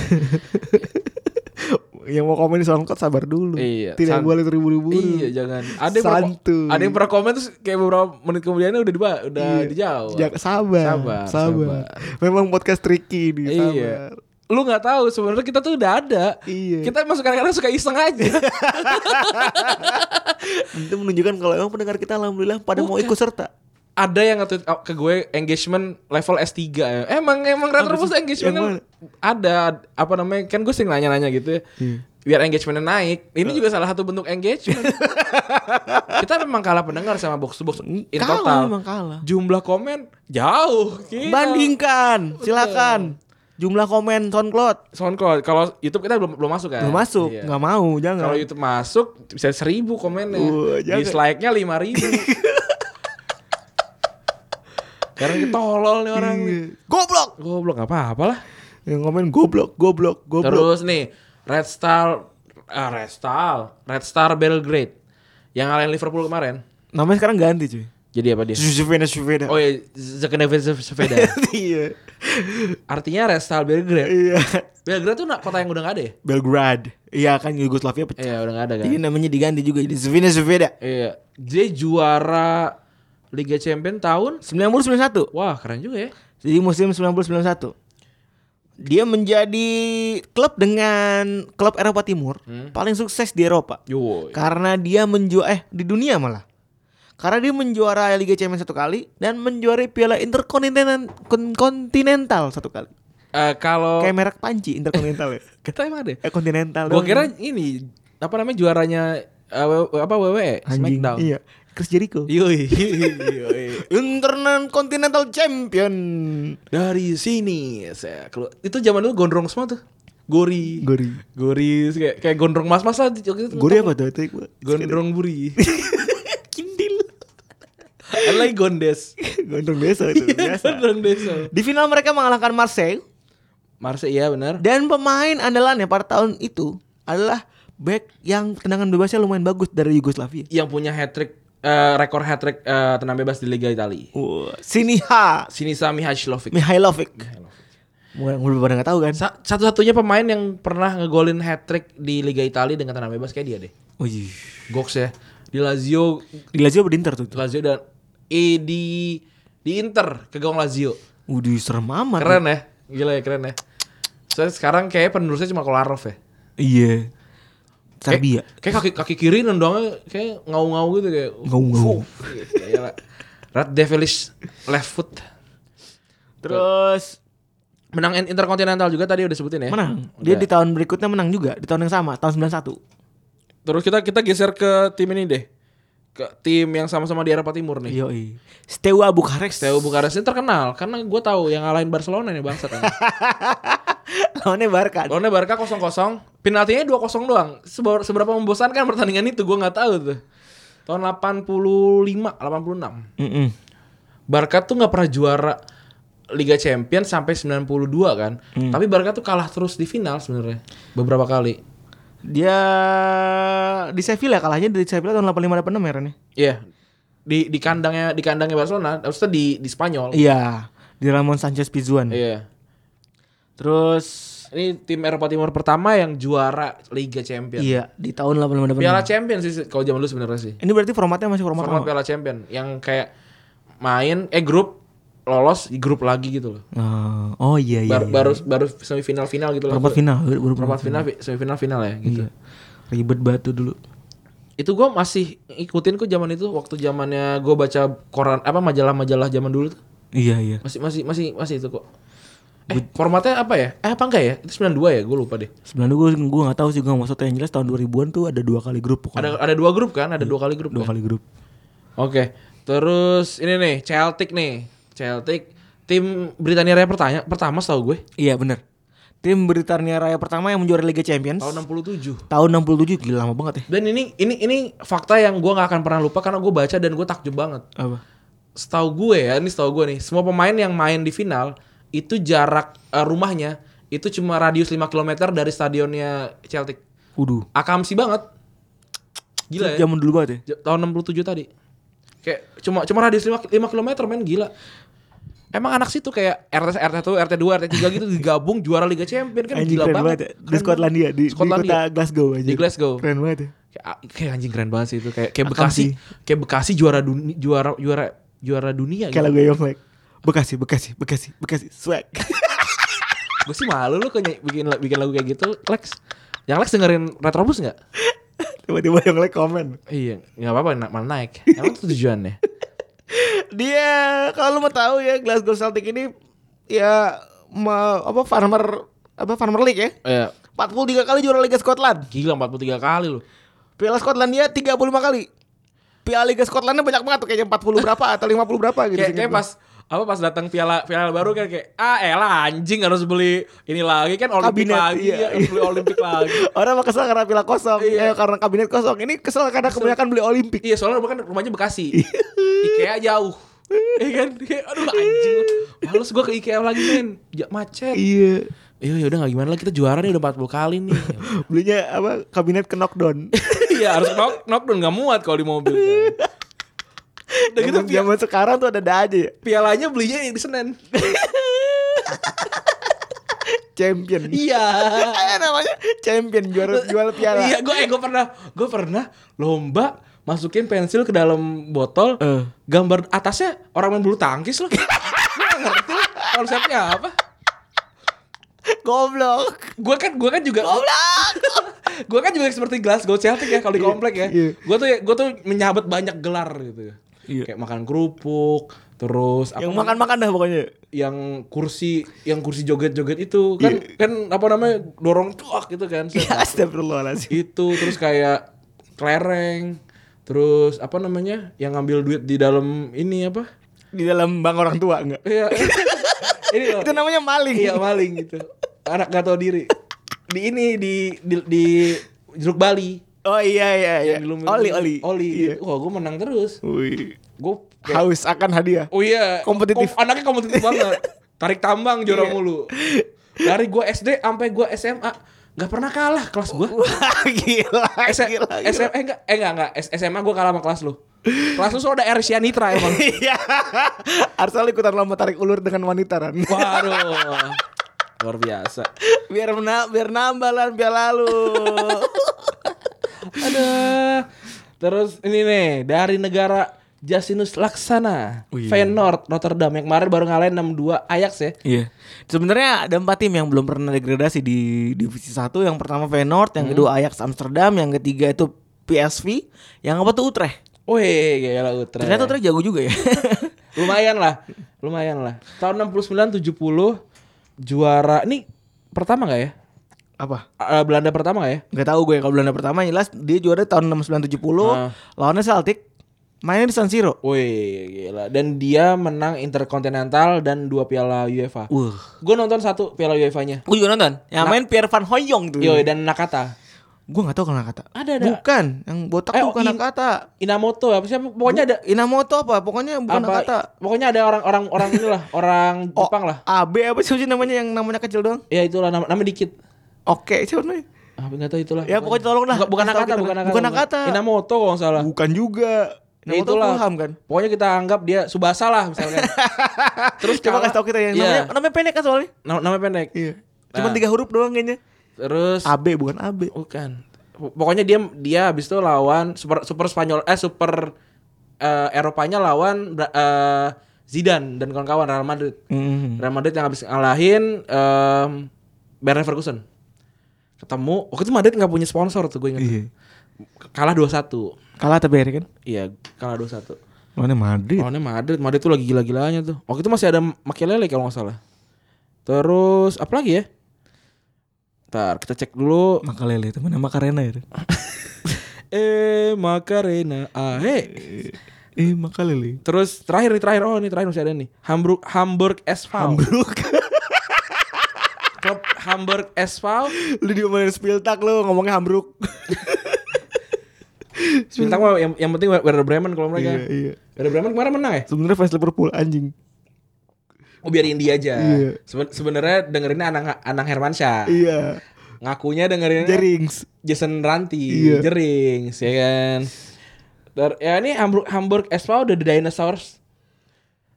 S3: yang mau komen di SoundCloud sabar dulu.
S2: Iya, san-
S3: Tidak boleh terburu-buru.
S2: Iya jangan. Ada yang pernah,
S3: Santuy.
S2: ada yang pernah komen terus kayak beberapa menit kemudiannya udah diba, udah
S3: Iya.
S2: dijawab.
S3: Ja- sabar,
S2: Sabar, sabar.
S3: sabar, Memang podcast tricky ini, sabar.
S2: Iya. Lu nggak tahu sebenarnya kita tuh udah ada.
S3: Iya.
S2: Kita masuk kadang-kadang suka iseng aja.
S3: Itu menunjukkan kalau emang pendengar kita alhamdulillah pada mau ikut serta.
S2: ada yang nge-tweet oh, ke gue engagement level S3 ya. Emang emang rata Rebus engagement
S3: Yang
S2: ada apa namanya? Kan gue sering nanya-nanya gitu ya.
S3: Hmm.
S2: Biar engagementnya naik.
S3: Oh.
S2: Ini juga salah satu bentuk engagement. Kita memang kalah pendengar sama box to box in
S3: Kalah,
S2: total. Iya.
S3: memang kalah.
S2: Jumlah komen jauh. Gila.
S3: Bandingkan, silakan. Jumlah komen SoundCloud
S2: SoundCloud kalau YouTube kita belum belum masuk kan?
S3: belum masuk,
S2: Iya.
S3: nggak mau, jangan.
S2: Kalau YouTube masuk bisa seribu komennya,
S3: Wah, jangan.
S2: dislike-nya lima ribu. Karena kita tolol nih orang.
S3: Iya. goblok.
S2: Goblok nggak apa-apa lah.
S3: Yang komen goblok, goblok, goblok.
S2: Terus nih Red Star, ah, Red Star, Red Star Belgrade yang ngalahin Liverpool kemarin.
S3: Namanya sekarang ganti cuy.
S2: Jadi apa dia?
S3: Zuvena Zuvena.
S2: Oh iya, Zakenevin Sepeda.
S3: iya.
S2: Artinya Red Star Belgrade.
S3: Iya.
S2: Belgrade tuh na- kota yang udah nggak ada ya?
S3: Belgrade. Iya kan Yugoslavia pecah.
S2: Iya udah nggak ada kan.
S3: Jadi namanya diganti juga jadi Zuvena Zuvena.
S2: Iya, dia juara Liga Champion tahun
S3: 9091.
S2: Wah keren juga ya
S3: Jadi musim 9091. Dia menjadi klub dengan klub Eropa Timur
S2: Hmm.
S3: paling sukses di Eropa.
S2: Yo,
S3: Karena dia menjuara eh di dunia malah. Karena dia menjuara Liga Champions satu kali dan menjuarai Piala Interkontinental kon- kontinental satu kali.
S2: Eh, Kalau
S3: Kayak merek panci Interkontinental ya.
S2: Kita emang ada
S3: Eh kontinental.
S2: Gue
S3: doang.
S2: kira ini Apa namanya juaranya eh, W- Apa WWE
S3: anjing.
S2: Smackdown
S3: Iya. Chris Jericho.
S2: Yoi, yoi.
S3: Intercontinental Champion.
S2: Dari sini saya keluar. Itu zaman dulu gondrong semua tuh Gori
S3: Gori.
S2: Gori kayak, kayak gondrong mas-mas lah waktu itu.
S3: Gori apa tuh? Itu gua-
S2: Gondrong buri
S3: Kindil.
S2: Ada lagi gondes
S3: Gondrong biasa itu. Iya, Biasa.
S2: Iya, Gondrong desa
S3: Di final mereka mengalahkan Marseille
S2: Marseille iya benar
S3: dan pemain andalannya pada tahun itu adalah back yang tendangan bebasnya lumayan bagus dari Yugoslavia.
S2: Yang punya hat-trick eh, Rekor hat-trick eh, tenang bebas di Liga Italia
S3: Wah, Siniha
S2: Sinisa Mihajlovic
S3: Mihailovic. Mungkin lu pada nggak tahu kan?
S2: Sa- Satu-satunya pemain yang pernah ngegolin hat-trick di Liga Italia dengan tenang bebas kayak dia deh.
S3: Wih,
S2: Goks ya. Di Lazio,
S3: di Lazio apa di Inter tuh?
S2: di Lazio dan eh, di di Inter ke gawang Lazio.
S3: Udah serem amat.
S2: Keren ya. Gila ya keren ya. Saya sekarang kayak penerusnya cuma Kolarov ya.
S3: Iya. Serbia.
S2: Kayak, kayak kaki kaki kiri nendangnya kayak ngau-ngau gitu kayak.
S3: Ngau-ngau.
S2: Fuh. Iya, iyalah. Red Devilish left foot.
S3: Terus
S2: Menang Intercontinental juga tadi udah sebutin ya.
S3: Eh, menang. Dia
S2: Udah.
S3: di tahun berikutnya menang juga di tahun yang sama, tahun 91.
S2: Terus kita kita geser ke tim ini deh. Ke tim yang sama-sama di Eropa Timur nih.
S3: Yoi. Steaua Bukares.
S2: Theo Bukares ini terkenal karena gue tahu yang ngalahin Barcelona nih bangsa kan.
S3: Lawannya Barca.
S2: Lawannya Barca 0-0, penaltinya 2-0 doang. Seber- Seberapa membosankan pertandingan itu gue nggak tahu tuh. Tahun 85, 86.
S3: Mm-mm.
S2: Barca tuh nggak pernah juara Liga Champions sampai 92 kan. Tapi Barca tuh kalah terus di final sebenarnya beberapa kali.
S3: Dia di Sevilla ya, kalahnya dari Sevilla tahun 85 86 ya Ren, ya?
S2: Iya. Di di kandangnya di kandangnya Barcelona, maksudnya di di Spanyol. Iya.
S3: Iya, di Ramon Sanchez Pizjuan. Terus
S2: Ini tim Eropa Timur pertama yang juara Liga Champions.
S3: iya di tahun 88.
S2: Piala Champion sih kalau zaman dulu sebenarnya sih.
S3: Ini berarti formatnya masih format,
S2: Format
S3: lama.
S2: Piala Champion yang kayak main eh grup lolos di grup lagi gitu loh.
S3: Ah, oh iya iya.
S2: Baru
S3: iya.
S2: baru baru semifinal final gitu loh.
S3: perempat final, baru baru
S2: Perempat final semifinal final ya gitu.
S3: Iya. Ribet batu dulu.
S2: Itu gua masih ikutin kok zaman itu waktu zamannya gua baca koran apa majalah-majalah zaman dulu tuh.
S3: Iya iya.
S2: Masih masih masih masih itu kok. Eh, formatnya apa ya? Eh, apa enggak ya? Itu 92 ya, gua lupa deh.
S3: Sebenarnya gue gue nggak tahu sih gue maksudnya yang jelas tahun 2000-an tuh ada dua kali grup pokoknya.
S2: Ada ada dua grup kan? Ada dua kali grup.
S3: Iya, dua
S2: kan?
S3: kali grup.
S2: Oke, terus ini nih Celtic nih, Celtic tim Britania Raya pertanya, pertama setahu gue
S3: Iya benar. Tim Britania Raya pertama yang menjuara Liga Champions
S2: tahun 67.
S3: tahun 67 gila lama banget ya.
S2: Dan ini ini ini fakta yang gue nggak akan pernah lupa karena gue baca dan gue takjub banget.
S3: Apa?
S2: Setahu gue ya, ini setahu gue nih, semua pemain yang main di final itu jarak eh, rumahnya itu cuma radius 5 km dari stadionnya Celtic.
S3: Waduh.
S2: Akamsi banget. Gila ya.
S3: Zaman dulu banget ya.
S2: Ja- tahun 67 tadi. Kayak cuma cuma radius 5, km men gila. Emang anak situ kayak RT RT 1, RT 2, RT 3 gitu digabung juara Liga Champion kan
S3: Anjing
S2: gila
S3: keren
S2: banget.
S3: banget ya. Di
S2: Keren
S3: Skotlandia di, di
S2: Skotlandia.
S3: kota Glasgow aja.
S2: Di Glasgow.
S3: Keren banget ya.
S2: Kayak, ah, kayak anjing keren banget sih itu kayak kayak
S3: Akam
S2: Bekasi,
S3: sih.
S2: kayak Bekasi juara dunia juara juara juara dunia gitu.
S3: Kayak lagu Yonglek. Bekasi, Bekasi, Bekasi, Bekasi, swag.
S2: Gue sih malu lu kok ny- bikin bikin lagu kayak gitu, Lex. Yang Lex dengerin Retrobus enggak?
S3: Tiba-tiba Yonglek komen.
S2: Iya, enggak apa-apa na- malah naik. Emang itu tujuannya.
S3: Dia kalau lu mau tahu ya Glasgow Celtic ini ya ma, apa farmer apa farmer league ya.
S2: Ya,
S3: 43 kali juara Liga Scotland.
S2: gila 43 kali lu.
S3: Piala Skotlandia 35 kali. Piala Liga Skotlandnya banyak banget tuh kayaknya 40 berapa atau 50 berapa gitu.
S2: Kayak,
S3: seingat
S2: kayak
S3: gua.
S2: pas apa pas datang piala piala baru kan kayak ah elah anjing harus beli ini lagi kan olimpik
S3: Kabinet,
S2: lagi
S3: iya,
S2: ya, harus beli olimpik lagi.
S3: Orang mah kesel karena pila kosong,
S2: Iya.
S3: eh, karena kabinet kosong. Ini kesel karena kebanyakan beli Olimpik.
S2: Iya soalnya bukan rumahnya Bekasi
S3: Iya.
S2: IKEA jauh Iya kan Kayak, Aduh anjing Males gue ke IKEA lagi men ya, Macet
S3: Iya.
S2: Iya yaudah gak gimana lah Kita juara nih udah 40 kali nih
S3: Belinya apa? Kabinet ke knockdown.
S2: Iya harus knock, knockdown Gak muat kalau di mobil kan. Udah gitu
S3: Zaman,
S2: pia-
S3: zaman sekarang tuh ada ada aja ya.
S2: pialanya belinya yang di Senen
S3: Champion.
S2: Iya
S3: Eh, namanya champion juara juara piala.
S2: Iya gue eh, gua pernah Gue pernah lomba Masukin pensil ke dalam botol
S3: Eh.
S2: Gambar atasnya orang main bulu tangkis loh Gue gak ngerti lah konsepnya apa
S3: Goblok.
S2: gue kan gue kan juga gue kan juga seperti Glasgow Celtic ya kalau di komplek ya
S3: iya.
S2: gue tuh gue tuh menyabet banyak gelar gitu kayak makan kerupuk terus apa
S3: Yang
S2: namanya,
S3: makan-makan dah pokoknya.
S2: yang kursi yang kursi joget-joget itu kan
S3: Iya.
S2: kan apa namanya dorong tuak gitu kan
S3: Ya astagfirullahaladzim.
S2: itu terus kayak kelereng terus apa namanya yang ngambil duit di dalam ini apa
S3: Di dalam bank orang tua enggak?
S2: iya ini loh
S3: Itu namanya maling.
S2: iya maling gitu anak gak tau diri di ini di di, di jeruk Bali
S3: Oh iya iya iya.
S2: Yang di Lumbung-
S3: Oli oli.
S2: Oli.
S3: Iya.
S2: Wah, gue menang terus.
S3: Wih.
S2: Gue
S3: Haus akan hadiah.
S2: Oh iya.
S3: Kompetitif.
S2: Kom- anaknya kompetitif banget. Tarik tambang juara
S3: Iya.
S2: mulu. Dari gue SD sampai gue SMA nggak pernah kalah kelas gue.
S3: Wah, gila,
S2: SMA
S3: gila, gila.
S2: eh enggak eh enggak enggak S- SMA gue kalah sama kelas lu. Kelas lu soalnya ada Ersianitra emang.
S3: Iya. Arsal ikutan lomba tarik ulur dengan wanita Ran.
S2: Waduh. Luar biasa.
S3: biar mena biar nambah lan biar lalu.
S2: Aduh. Terus ini nih dari negara Jasinus Laksana, Feyenoord Rotterdam yang kemarin baru ngalahin 6-2 Ajax ya.
S3: Iya. Sebenarnya ada empat tim yang belum pernah degradasi di divisi 1. Yang pertama Feyenoord, yang kedua Ajax Amsterdam, yang ketiga itu PSV, yang apa tuh Utrecht.
S2: Wih, gila Utrecht.
S3: Ternyata Utrecht jago juga ya.
S2: lumayan lah lumayan lah tahun 69 70 juara ini pertama nggak ya
S3: apa?
S2: Eh, Belanda pertama nggak ya
S3: Gak tahu gue kalau Belanda pertama yang jelas dia juara tahun 6970
S2: Ah.
S3: lawannya Celtic mainnya di San Siro.
S2: Wih gila Dan dia menang Interkontinental Dan dua piala UEFA
S3: Wah.
S2: Gue nonton satu piala UEFA nya
S3: Gue juga nonton. Yang main Pierre van Hooyong tuh.
S2: Yo dan Nakata
S3: Gue gak tau kalau Nakata
S2: Ada, ada.
S3: Bukan Yang botak
S2: Eh,
S3: tuh bukan
S2: in-
S3: Nakata
S2: Inamoto apa siapa Pokoknya ada
S3: Inamoto apa Pokoknya bukan
S2: apa,
S3: Nakata
S2: Pokoknya ada orang orang orang inilah Orang
S3: Oh,
S2: Jepang lah
S3: AB apa sih sih namanya Yang namanya kecil doang
S2: Ya itulah nama, nama dikit
S3: Oke siapa namanya
S2: Ah nggak tahu itulah
S3: Ya, pokoknya tolong lah.
S2: Bukan, bukan
S3: Kasih tahu
S2: Nakata
S3: kita.
S2: bukan Nakata
S3: Bukan Nakata.
S2: Inamoto kalau nggak salah
S3: Bukan juga
S2: Ya
S3: Inamoto
S2: itulah.
S3: Fulham kan
S2: Pokoknya kita anggap dia Subasa lah misalnya. Terus
S3: Coba kasih tau kita yang namanya,
S2: namanya
S3: namanya pendek kan soalnya
S2: namanya pendek.
S3: Iya
S2: Nah.
S3: Cuma tiga huruf doang kayaknya
S2: Terus
S3: AB bukan AB
S2: bukan. Pokoknya dia dia habis itu lawan super super Spanyol eh super eh, Eropanya lawan eh, Zidane dan kawan-kawan Real Madrid.
S3: Mm-hmm.
S2: Real Madrid yang habis ngalahin em Bayer Leverkusen. Ketemu waktu itu Madrid nggak punya sponsor tuh gue ingat.
S3: Iya.
S2: Kalah 2-1.
S3: Kalah tapi akhirnya kan
S2: Iya, kalah 2-1.
S3: Mana Madrid
S2: Lawannya Madrid, Madrid tuh lagi gila-gilanya tuh. Waktu itu masih ada Makelele kalau nggak salah. Terus apa lagi ya? Ntar kita cek dulu.
S3: Maka Lele temen nama Karena ya
S2: Eh Macarena, ah hey.
S3: Eh Maka Lele
S2: Terus terakhir nih terakhir oh ini terakhir masih ada nih. Hamburg Hamburg SV.
S3: Hamburg
S2: Klub Hamburg SV.
S3: Lu diomelin Spiltak lu Ngomongnya Hamburg
S2: Bintang mah yang, yang penting Werder Bremen kalau mereka.
S3: Iya, iya.
S2: Werder Bremen kemarin menang ya?
S3: Sebenarnya fans Liverpool anjing
S2: Oh biarin dia aja.
S3: Iya.
S2: Seben- Sebenarnya dengerinnya Anang Anang Hermansyah.
S3: Iya
S2: Ngakunya dengerin
S3: Jerings
S2: Jason Ranti,
S3: Iya.
S2: Jering, ya kan. Ter- ya ini Hamburg Hamburg SV udah The Dinosaurs.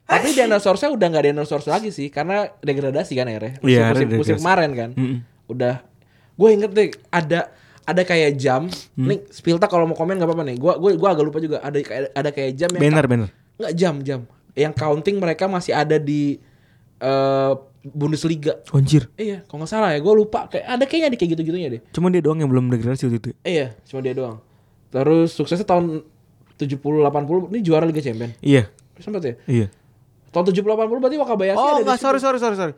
S2: Tapi dinosaurusnya udah nggak dinosaurus lagi sih, karena degradasi kan akhirnya. Musim,
S3: Iya,
S2: musim, musim
S3: degradasi.
S2: kemarin kan. Udah. Gue inget deh ada ada kayak jam.
S3: Hmm.
S2: Nih Spilta kalau mau komen nggak apa-apa nih. Gue gue gue agak lupa juga ada kayak- ada kayak jam yang
S3: Banner, banner.
S2: nggak jam jam yang counting mereka masih ada di eh, Bundesliga.
S3: Anjir.
S2: Iya, kalau nggak salah ya, gue lupa. Kayak ada kayaknya ada kayak gitu-gitunya deh.
S3: Cuman dia doang yang belum degradasi waktu itu.
S2: Iya, cuma dia doang. Terus suksesnya tahun 70-80, ini juara Liga Champion.
S3: Iya.
S2: Sempet ya?
S3: Iya.
S2: Tahun 70-80 berarti Wakabayashi ada
S3: Oh, enggak,
S2: di situ.
S3: sorry, sorry, sorry, sorry.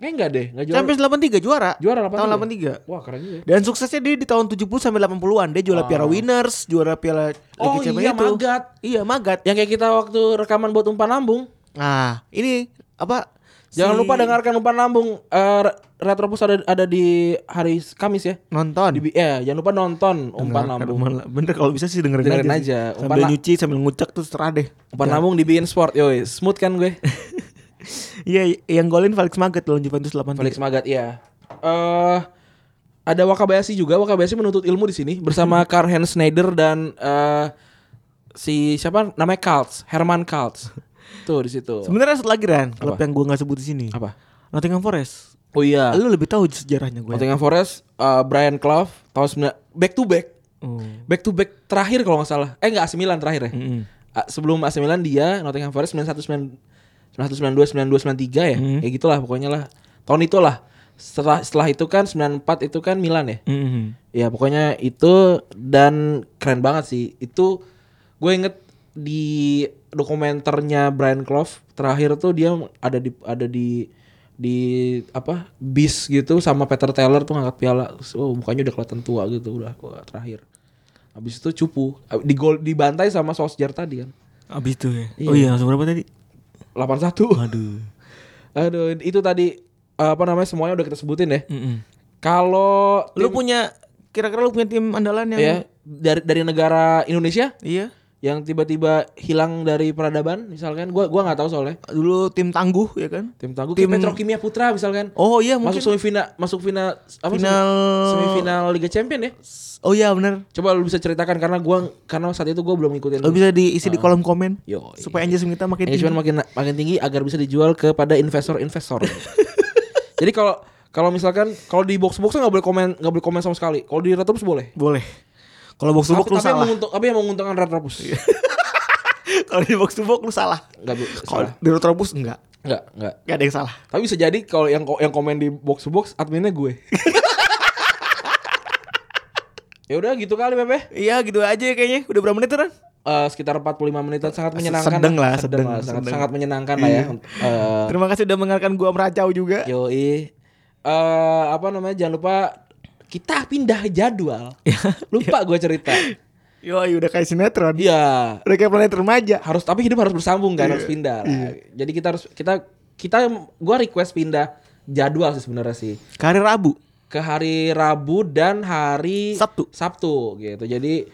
S2: Kayaknya enggak deh, enggak juara.
S3: Champions 83 juara.
S2: juara 83.
S3: Tahun 83.
S2: Wah, keren juga. ya.
S3: Dan suksesnya dia di tahun 70 sampai 80-an. Dia
S2: Ah.
S3: juara Piala Winners, juara Piala
S2: Oh,
S3: Liga Champions
S2: iya,
S3: itu.
S2: Magat.
S3: Iya, Magat.
S2: Yang kayak kita waktu rekaman buat umpan lambung.
S3: Nah, ini apa?
S2: Jangan
S3: si-
S2: lupa dengarkan umpan lambung eh, Re- Retropus ada ada di hari Kamis ya.
S3: nonton.
S2: Di, ya, jangan lupa nonton umpan
S3: Dengarkan
S2: lambung.
S3: umpan la- Bener kalau bisa sih dengerin,
S2: Dengerin
S3: aja. sih.
S2: aja.
S3: Sambil
S2: Umpan la-
S3: nyuci, sambil ngucek terus terah deh.
S2: Umpan lambung di Bein Sport. Yoi, smooth kan gue.
S3: Iya, yang golin Felix Magat lawan Juventus 8
S2: Felix Magat ya. Eh ada Wakabayashi juga. Wakabayashi menuntut ilmu di sini bersama Karl-Heinz Schneider dan eh si siapa namanya Kaltz, Herman Kaltz. Tuh di situ.
S3: Sebenarnya satu lagi Ran, klub
S2: Apa?
S3: yang gua nggak sebut di sini.
S2: Apa?
S3: Nottingham Forest.
S2: Oh iya.
S3: Lu lebih tahu sejarahnya ya? gue.
S2: Nottingham Forest eh, Brian Clough tahun 9 back to back.
S3: Oh.
S2: Hmm. Back to back terakhir kalau nggak salah. Eh enggak AC Milan terakhir ya. Ah, sebelum AC Milan dia Nottingham Forest 91 91 92 92 93 ya. Kayak gitulah pokoknya lah. Tahun itulah. Setelah setelah itu kan 94 itu kan Milan ya. Ya pokoknya itu dan keren banget sih. Itu gue inget di dokumenternya Brian Clough terakhir tuh dia ada di ada di di apa bis gitu sama Peter Taylor tuh ngangkat piala. Oh mukanya udah kelihatan tua gitu udah wah, terakhir. Habis itu cupu di gol dibantai sama Solskjaer tadi kan.
S3: Abis itu ya. Oh iya, langsung berapa tadi?
S2: 81.
S3: Aduh.
S2: Aduh itu tadi apa namanya semuanya udah kita sebutin ya. Kalau
S3: Lu punya kira-kira lu punya tim andalan yang
S2: ya dari dari negara Indonesia
S3: Iya.
S2: yang tiba-tiba hilang dari peradaban misalkan gua gua nggak tahu soalnya
S3: Dulu tim tangguh ya kan?
S2: tim tangguh tim Petrokimia Putra misalkan
S3: Oh iya
S2: masuk
S3: mungkin.
S2: semifinal masuk final apa sih?
S3: Final-
S2: semifinal Liga Champion ya
S3: Oh iya benar.
S2: coba lu bisa ceritakan karena gua karena saat itu gua belum ngikutin
S3: Lu bisa diisi di kolom komen.
S2: Ah. Yo, iya.
S3: Supaya engagement kita makin tinggi.
S2: engagement makin makin tinggi agar bisa dijual kepada investor-investor jadi kalau kalau misalkan kalau di box box nggak boleh komen nggak boleh komen sama sekali kalau di retropus boleh
S3: Boleh. Kalau box to
S2: tapi,
S3: box
S2: tapi
S3: lu
S2: yang
S3: salah. Iya.
S2: menguntung tapi yang menguntungkan retropus
S3: Kalau di box to box lu salah.
S2: nggak bu-
S3: Kalau
S2: salah.
S3: di Retrobus enggak.
S2: nggak nggak
S3: Enggak ada yang salah.
S2: Tapi bisa jadi kalau yang yang komen di box to box adminnya gue. ya udah gitu kali Pepe.
S3: Iya gitu aja ya kayaknya. Udah berapa menit Ran?
S2: Eh sekitar 45 menitan sangat menyenangkan.
S3: Sedeng lah, Iya. sedeng,
S2: sangat,
S3: sedeng.
S2: sangat menyenangkan lah ya. Eh
S3: Terima kasih udah mendengarkan gua meracau
S2: Iya.
S3: juga.
S2: yoi. Eh, apa namanya? Jangan lupa kita pindah jadwal.
S3: Iya.
S2: Lupa gue cerita.
S3: Yoi udah kayak sinetron.
S2: Iya,
S3: Udah kayak planet remaja.
S2: harus tapi hidup harus bersambung
S3: Iya.
S2: kan harus pindah. lah. Jadi kita harus kita kita gua request pindah jadwal sih sebenarnya sih.
S3: Karir Rabu.
S2: ke hari Rabu dan hari
S3: Sabtu.
S2: Sabtu gitu. Jadi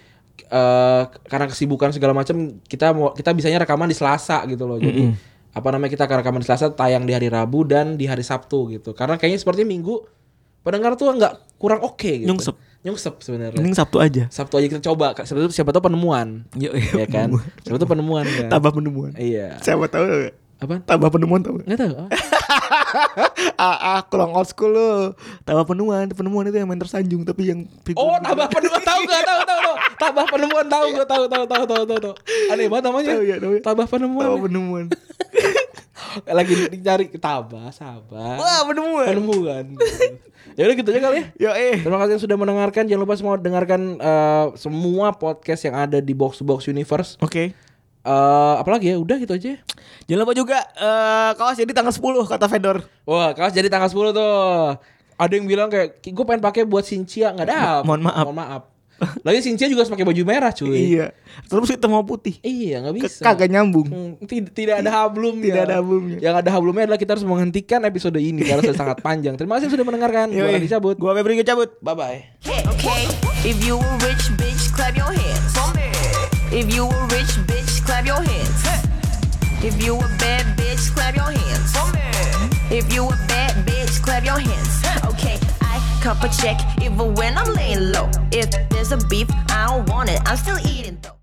S2: eh karena kesibukan segala macam kita mau kita bisanya rekaman di Selasa gitu loh. Jadi apa namanya kita akan rekaman di Selasa, tayang di hari Rabu dan di hari Sabtu gitu. Karena kayaknya seperti Minggu pendengar tuh nggak kurang oke gitu.
S3: Nyungsep.
S2: Nyungsep sebenarnya.
S3: Mending Sabtu aja.
S2: Sabtu aja kita coba. Siapa tahu, siapa tahu penemuan.
S3: Yo,
S2: Ya kan? Siapa tahu penemuan kan.
S3: Tambah penemuan.
S2: Iya.
S3: Siapa tahu tau nggak?
S2: Apaan?
S3: Tambah penemuan tahu.
S2: Enggak tahu. Ah.
S3: ah, ah, kurang old school lo. Tambah penemuan, penemuan itu yang main tersanjung tapi yang figur-
S2: Oh, tambah penemuan tahu gak tahu tahu tahu. Tambah penemuan tahu gak tahu tahu tahu tahu tahu tahu. Aneh banget namanya.
S3: Tahu ya, tahu ya.
S2: Tambah penemuan.
S3: Tambah penemuan.
S2: Lagi dicari tambah sabar.
S3: Wah, penemuan.
S2: Penemuan. ya udah gitu aja kali ya.
S3: Yo eh.
S2: Terima kasih yang sudah mendengarkan. Jangan lupa semua dengarkan eh, semua podcast yang ada di Box to Box Universe.
S3: Oke.
S2: Eh, apalagi ya? Udah gitu aja. ya.
S3: Jangan lupa juga eh kaos jadi tanggal 10 kata vendor.
S2: Wah, kaos jadi tanggal 10 tuh. Ada yang bilang kayak gue pengen pakai buat Sincia nggak ada.
S3: Mohon maaf.
S2: Mohon maaf. Lagi Sincia juga harus pakai baju merah, cuy.
S3: Iya. Terus kita mau putih.
S2: Iya, nggak bisa.
S3: Kagak nyambung.
S2: Hmm, tid- tidak ada hablumnya.
S3: Tidak ada hablumnya.
S2: Yang ada hablumnya adalah kita harus menghentikan episode ini karena sudah sangat panjang. Terima kasih sudah mendengarkan.
S3: Yo,
S2: Gua
S3: eh.
S2: Randy cabut.
S3: Gua Febri cabut.
S2: Bye bye.
S5: Okay. If you a rich bitch, clap your hands. If you a rich bitch, clap your hands. If you a bad bitch, clap your hands. If you a bad bitch, clap your hands. Okay, I cup a check even when I'm laying low. If there's a beef, I don't want it. I'm still eating though.